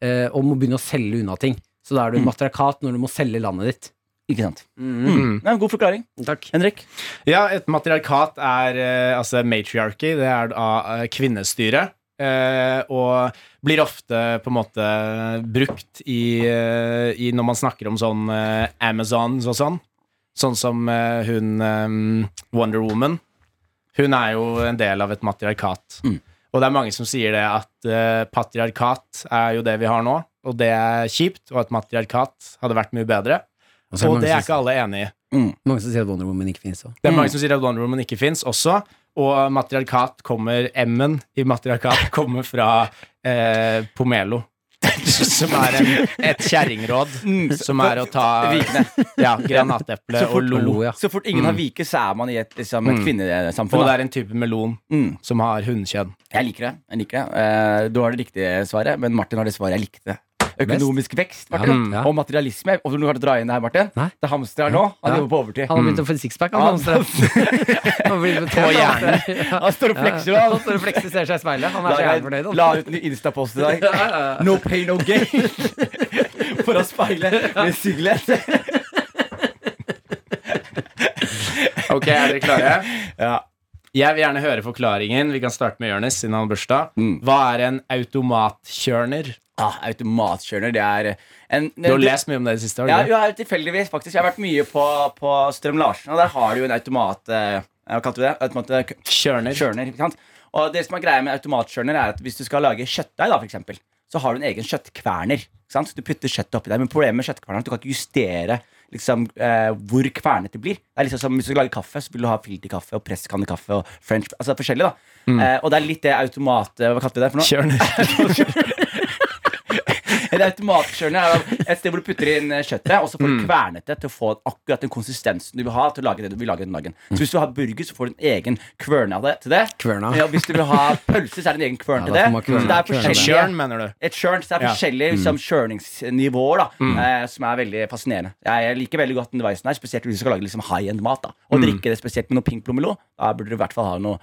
C: eh, og må begynne å selge unna ting. Så da er du
D: Mm.
C: matriarkat når du må selge landet ditt.
D: Ikke sant.
E: Mm.
D: Nei, men god forklaring.
C: Takk.
D: Henrik.
E: Ja, et matriarkat er eh, altså matriarchy, det er da eh, kvinnestyret. eh, og blir ofte på en måte brukt i, eh, i når man snakker om sånn eh, Amazons og sånn. Sånn som eh, hun eh, Wonder Woman. Hun er jo en del av et matriarkat.
D: Mm.
E: Og det er mange som sier det at eh, patriarkat er jo det vi har nå, og det er kjipt, og at matriarkat hadde vært mye bedre.
C: Og så er det
E: Og det
C: mange
E: er
C: som-
E: ikke alle enig i.
C: Mange som sier at Wonder Woman ikke finnes òg.
E: Det er mange som sier at Wonder Woman ikke fins også. Og matriarkat kommer M-en i matriarkat (laughs) kommer fra eh, Pomelo. (laughs) Som er en, et kjerringråd. Som er å ta (laughs) ja, (laughs) granateple
D: Så
E: og
D: fort-
E: lo.
C: Lo, ja.
D: Så fort
C: Mm.
D: ingen har vike, så er man i et, liksom, et
E: Mm. Og
D: kvinnesamfunn.
E: det
D: da.
E: er en type melon
D: Mm.
E: som har hunnkjønn.
D: Jeg liker det. jeg liker det Eh, Du har det riktige svaret, men Martin har det svaret jeg likte. Økonomisk vekst Martin,
C: Ja.
D: og materialisme. Og du kan dra inn det her, Martin.
C: Nei.
D: Det er hamsteren nå. Han
C: Ja.
D: jobber på overtid.
C: Han har begynt å få sixpack, han.
D: Han-
C: Hamstra. (laughs) Han blir betalt,
D: Mm. På hjernen.
C: altså. Ja.
D: Han står og flekser. og
C: Ja,
D: han-
C: Han står og flekser, ser seg i speilet. Han er så
D: La,
C: jævlig fornøyd. altså. han.
D: la ut en Insta-post i (laughs) dag. No pay, no gain. (laughs) Foran speilet med singlet.
E: Ok, Er dere klare? (laughs)
D: Ja.
E: Jeg vil gjerne høre forklaringen. Vi kan starte med Jonis siden han har bursdag.
D: Mm.
E: Hva er en automatkjørner?
D: (laughs) Ah, automatkjører, det er en
E: Du har lest mye om Eh, det i det siste.
D: Ja,
E: har du ikke?
D: jo, jeg er tilfeldigvis, faktisk. Jeg har vært mye på, på Strøm-Larsen, og der har du jo en automat... Eh, hva kalte du det? Automat...
E: Kjørner.
D: Kjørner, ikke sant? Og det som er greia med automatkjørner, er at hvis du skal lage kjøttdeig, da, for eksempel, så har du en egen kjøttkverner. Ikke sant? Så du putter kjøttet oppi der. Men problemet med kjøttkverneren er at du kan ikke justere liksom, eh, hvor kvernet det blir. Det er liksom som Hvis du skal lage kaffe, så vil du ha filterkaffe og presskannekaffe og french Altså det er forskjellig, da. Eh, og det er litt det automat... eh, Hva kalte vi det for noe?
E: Kjørner.
D: En automatkjørner er jo et sted hvor du putter inn eh, kjøttet, og så får du kvernet det til å få akkurat den konsistensen du vil ha til å lage det du vil lage den dagen. Så hvis du har burger, så får du en egen kvørn av det til det.
C: Kverna.
D: Ja, hvis du vil ha pølse, så er det en egen kvørn
C: Ja,
D: til
C: da
D: det.
C: får man kvørne.
D: Så det er
C: Kvørne.
E: En
D: forskjellige
E: kjørn, mener du?
D: et churn, så det er
E: Ja.
D: forskjellige liksom, churningsnivåer da, eh, som er veldig fascinerende. Jeg, jeg liker veldig godt den devicen her, spesielt hvis du skal lage liksom, high end mat. da Og drikke det spesielt med noe pink blommelå. Da burde du i hvert fall ha noe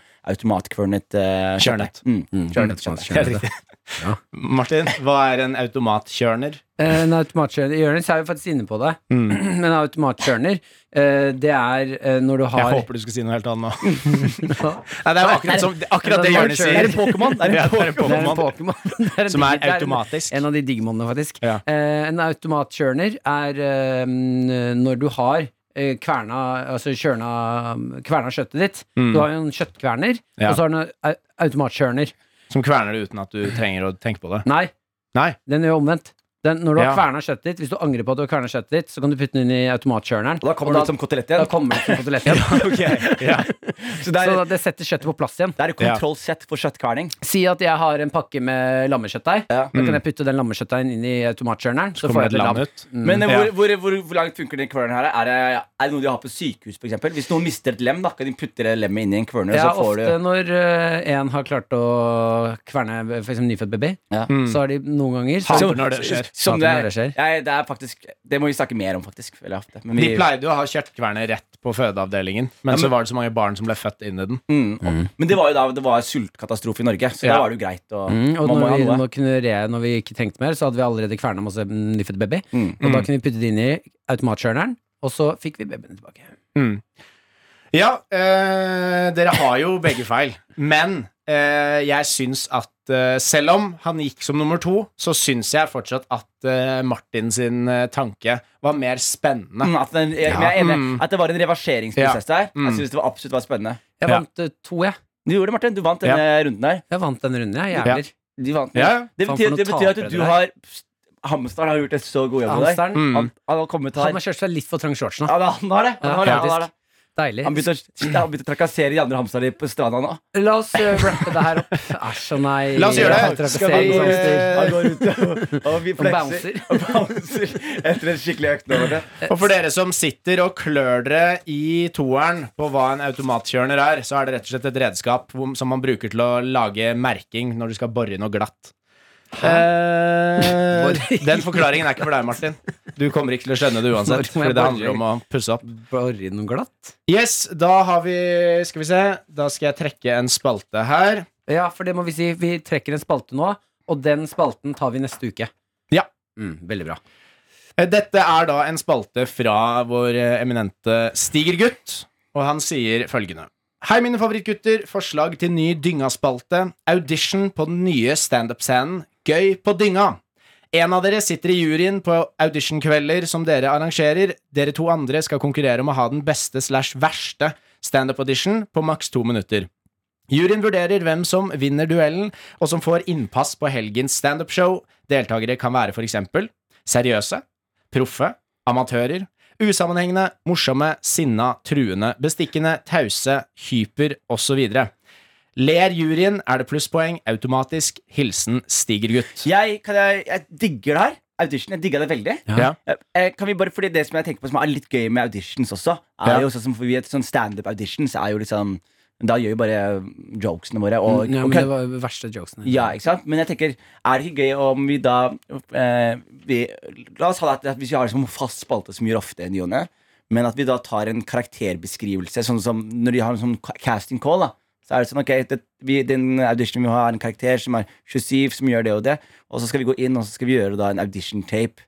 D: automatkvernet eh,
E: Kjørnet.
D: kjøttdeig. Mm. Kjørnet, kjørnet.
C: Automatkjørner.
E: (laughs) Martin, hva er en automatkjørner?
C: Eh, En automatkjørner Jonis er jo faktisk inne på det.
E: Mm.
C: (clears throat) Men automatkjørner, eh, det er eh, når du
E: Jeg
C: har
E: håper du skulle si noe helt annet (laughs) nå. Nei, det er jo akkurat, som, akkurat
C: det er
E: det
C: en
E: Jonis sier.
C: kjørner. Det er en
E: Pokémon. Det
C: Ja,
E: er en
C: Det er en
E: Pokémon.
C: Pokémon. (laughs) Det en
E: Som er
C: dig- det en-
E: automatisk.
C: En av de digimonene, faktisk.
E: Ja.
C: Eh, en automatkjørner er eh, når du har eh, kverna Altså kjørna Kverna kjøttet ditt. Du har jo en kjøttkverner,
E: Mm. Ja.
C: og så har du en au- automatkjørner.
E: Som kverner det uten at du trenger å tenke på det. (laughs)
C: Nei,
E: Nei.
C: den gjør omvendt. Den, når du har
E: Ja.
C: kverna kjøttet ditt, hvis du angrer på at du har kverna kjøttet ditt, så kan du putte den inn i automatkjørneren.
D: Og da kommer
C: og
D: det ut som kotelett
C: da
D: igjen.
C: kommer det til kotelett igjen.
D: (laughs)
E: Ja.
D: Så det
C: Så
D: er,
C: det setter kjøttet på plass igjen.
D: det er kontroll sett for kjøttkverning.
C: Si at jeg har en pakke med lammekjøttdeig.
D: Ja.
C: Da kan jeg putte den lammekjøttdeigen inn i automatkjørneren. Så,
E: Kommer
C: får jeg det
E: det et Mm.
C: lam.
E: lam ut?
D: Men eh, hvor,
E: Ja.
D: hvor, hvor, hvor langt funker den kvørnen her? Er det, er det noe de har på sykehus, for eksempel? Hvis noen mister et lem, da kan de putte det lemmet inn i en kvørner,
C: Ja,
D: og så får
C: ofte når eh, en har klart å kverne for eksempel nyfødt baby,
D: Ja.
C: så har de noen ganger så,
E: Hater når det skjer.
D: du Som det,
C: Hater når det skjer.
D: jeg, det er faktisk Det må vi snakke mer om, faktisk. Veldig ofte. Men
E: De
D: vi-
E: pleide jo å ha kjøttkverner rett på fødeavdelingen, men så var det så mange barn som ble født inn i den.
D: Mm. og- Men det var jo da det var sultkatastrofe i Norge, så da
E: Ja.
D: var det jo greit å
C: Mm, og
D: man må
C: når
D: ha
C: vi,
D: noe.
C: nå kunne re, når vi ikke trengte mer, så hadde vi allerede kverna masse nyfødt baby.
D: Mm.
C: Og da kunne vi putte det inn i automatkjørneren, og så fikk vi babyen tilbake.
E: Ja, eh, dere har jo begge feil, men eh, jeg syns at eh, selv om han gikk som nummer to, så syns jeg fortsatt at eh, Martin sin eh, tanke var mer spennende.
D: Mm, At, den, jeg, men jeg er enig at det var en reverseringsprosess der. Jeg synes det var absolutt var spennende
C: Jeg
E: Ja.
C: vant eh, to, jeg.
D: Du gjorde det, Martin. Du vant denne runden der.
C: Jeg vant den runden, jeg. Jævler.
D: Du vant den.
E: Ja, ja.
D: Det,
C: Faen, for
D: betyr, det
C: noen
D: betyr at
C: tapere
D: du
C: dere er.
D: har Hamstaren har gjort en så god jobb med deg.
C: Hamsteren Mm.
D: Han, han har kommet her.
C: han har kjørt seg litt for trang shorts nå.
D: Ja, men han har det. Han, har det.
C: Ja,
D: han, har det.
C: Deilig.
D: han, begynte, å, han begynte å trakassere de andre hamsterne på stranda nå.
C: La oss eh, rappe det her opp. Æsj og nei.
E: La oss gjøre det.
C: Jeg
E: Skal vi,
C: trakasserer
E: eh,
D: Han går rundt og, og vi
C: (laughs) og
D: flekser.
C: bouncer.
D: (laughs) Og bouncer etter en skikkelig økt nå. Martin.
E: Og for dere som sitter og klør dere i toeren på hva en automatkjørner er, så er det rett og slett et redskap hvor- som man bruker til å lage merking når du skal bore i noe glatt. Eh, den forklaringen er ikke for deg, Martin. Du kommer ikke til å skjønne det uansett.
C: Når må
E: Fordi
C: jeg
E: det handler
C: bore?
E: om å pusse opp.
C: Bare noe glatt.
E: Yes, da har vi Skal vi se. Da skal jeg trekke en spalte her.
C: Ja, for det må vi si. Vi trekker en spalte nå, og den spalten tar vi neste uke.
E: Ja.
C: Mm, veldig bra.
E: Eh, Dette er da en spalte fra vår eh, eminente Stigergutt, og han sier følgende. Hei, mine favorittgutter. Forslag til ny dyngaspalte. Audition på den nye standup-scenen. Gøy på dynga. En av dere sitter i juryen på auditionkvelder som dere arrangerer. Dere to andre skal konkurrere om å ha den beste slash verste standup-audition på maks to minutter. Juryen vurderer hvem som vinner duellen, og som får innpass på helgens standup-show. Deltakere kan være for eksempel seriøse, proffe, amatører, usammenhengende, morsomme, sinna, truende, bestikkende, tause, hyper osv. Ler juryen, er det plusspoeng. Automatisk. Hilsen Stigergutt.
D: Jeg, kan jeg, jeg digger det her. Audition. Jeg digga det veldig.
E: Ja.
D: Eh, eh, Kan vi bare, fordi Det som jeg tenker på som er litt gøy med auditions også, er
E: Ja.
D: jo sånn som for vi vet, sånn standup-auditions er jo liksom Da gjør jo bare jokesene våre og,
C: ja,
D: og
C: men
D: kødd-
C: Det var jo verste jokesen.
D: Ja, ikke sant? Men jeg tenker, er det ikke gøy om vi da eh, vi, La oss ha det at- at hvis vi har det som fast spalte som vi gjør ofte i ny og ne, men at vi da tar en karakterbeskrivelse, sånn som når de har en sånn ca- casting call, da. Så er det sånn, ok, det, vi, Den auditionen vi har, er en karakter som er 27, som gjør det og det, og så skal vi gå inn og så skal vi gjøre da en audition tape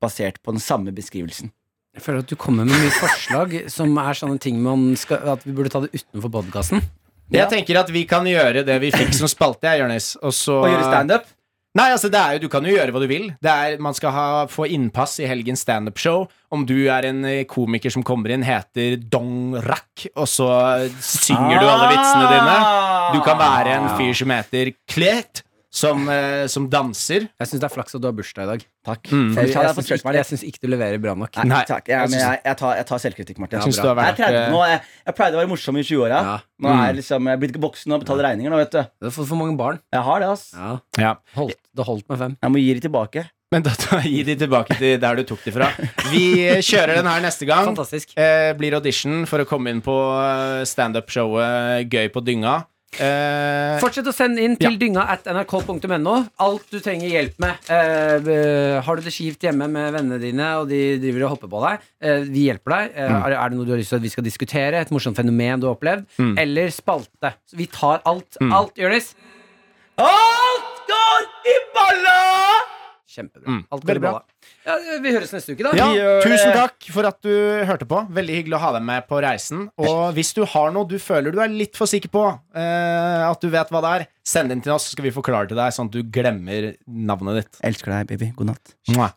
D: basert på den samme beskrivelsen.
C: Jeg føler at du kommer med mye forslag som er sånne ting man skal, at vi burde ta det utenfor podkasten.
E: Jeg tenker at vi kan gjøre det vi fikk som spalte, jeg, Jonis. Og så
D: Og gjøre standup.
E: Nei, altså, det er jo, du kan jo gjøre hva du vil. Det er, man skal ha, få innpass i helgens standup-show. Om du er en eh, komiker som kommer inn, heter Dong Rak, og så synger du alle vitsene dine. Du kan være en fyr som heter Klet, som, eh, som
C: Jeg
E: danser.
C: syns det er flaks at du har bursdag i dag.
D: Takk.
E: Mm.
C: Jeg,
D: Jeg, jeg,
C: synes ikke, jeg syns ikke du leverer bra nok.
D: Nei,
E: Nei,
D: takk. Jeg, men jeg, jeg, tar, jeg tar selvkritikk, Martin.
E: Jeg synes du har vært,
D: jeg, er 30
E: eh, Mm.
D: nå, jeg, jeg pleide å være morsom i 20-åra.
C: Ja.
D: Nå er jeg liksom, jeg er blitt voksen og betaler regninger nå, vet du.
C: Du har fått for mange barn.
D: Jeg har det, ass.
C: Ja.
E: Ja.
C: Holdt, det holdt med fem.
D: Jeg må gi det tilbake.
E: Men da, da gi de tilbake til der du tok de fra. Vi eh, kjører den her neste gang.
C: Fantastisk.
E: Eh, blir audition for å komme inn på eh, standup-showet Gøy på dynga. Eh,
C: Fortsett å sende inn til dynga at nrk.no alt du trenger hjelp med. Eh, eh, har du det kjipt hjemme med vennene dine, og de driver og hopper på deg, eh, vi hjelper deg. Eh, er, er det noe du har lyst til at vi skal diskutere? Et morsomt fenomen du har opplevd? Eller spalte. Så vi tar alt. Alt, Jonis.
D: Alt går i balla!
C: Kjempebra. Alt veldig bra. Ja, vi høres neste uke, da.
E: Ja,
D: Vi gjør
E: tusen
D: det.
E: takk for at du hørte på. Veldig hyggelig å ha deg med på reisen. Og hvis du har noe du føler du er litt for sikker på, eh, at du vet hva det er, send det inn til oss, så skal vi forklare til deg, sånn at du glemmer navnet ditt.
D: Elsker deg, baby. God natt.
E: Mwah.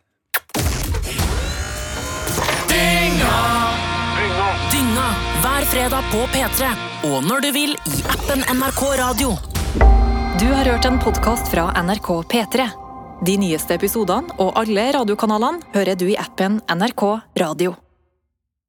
B: Dynga hver fredag på P3. Og når du vil i appen NRK Radio.
A: Du har hørt en podkast fra NRK P3. De nyeste episodene og alle radiokanalene hører du i appen NRK Radio.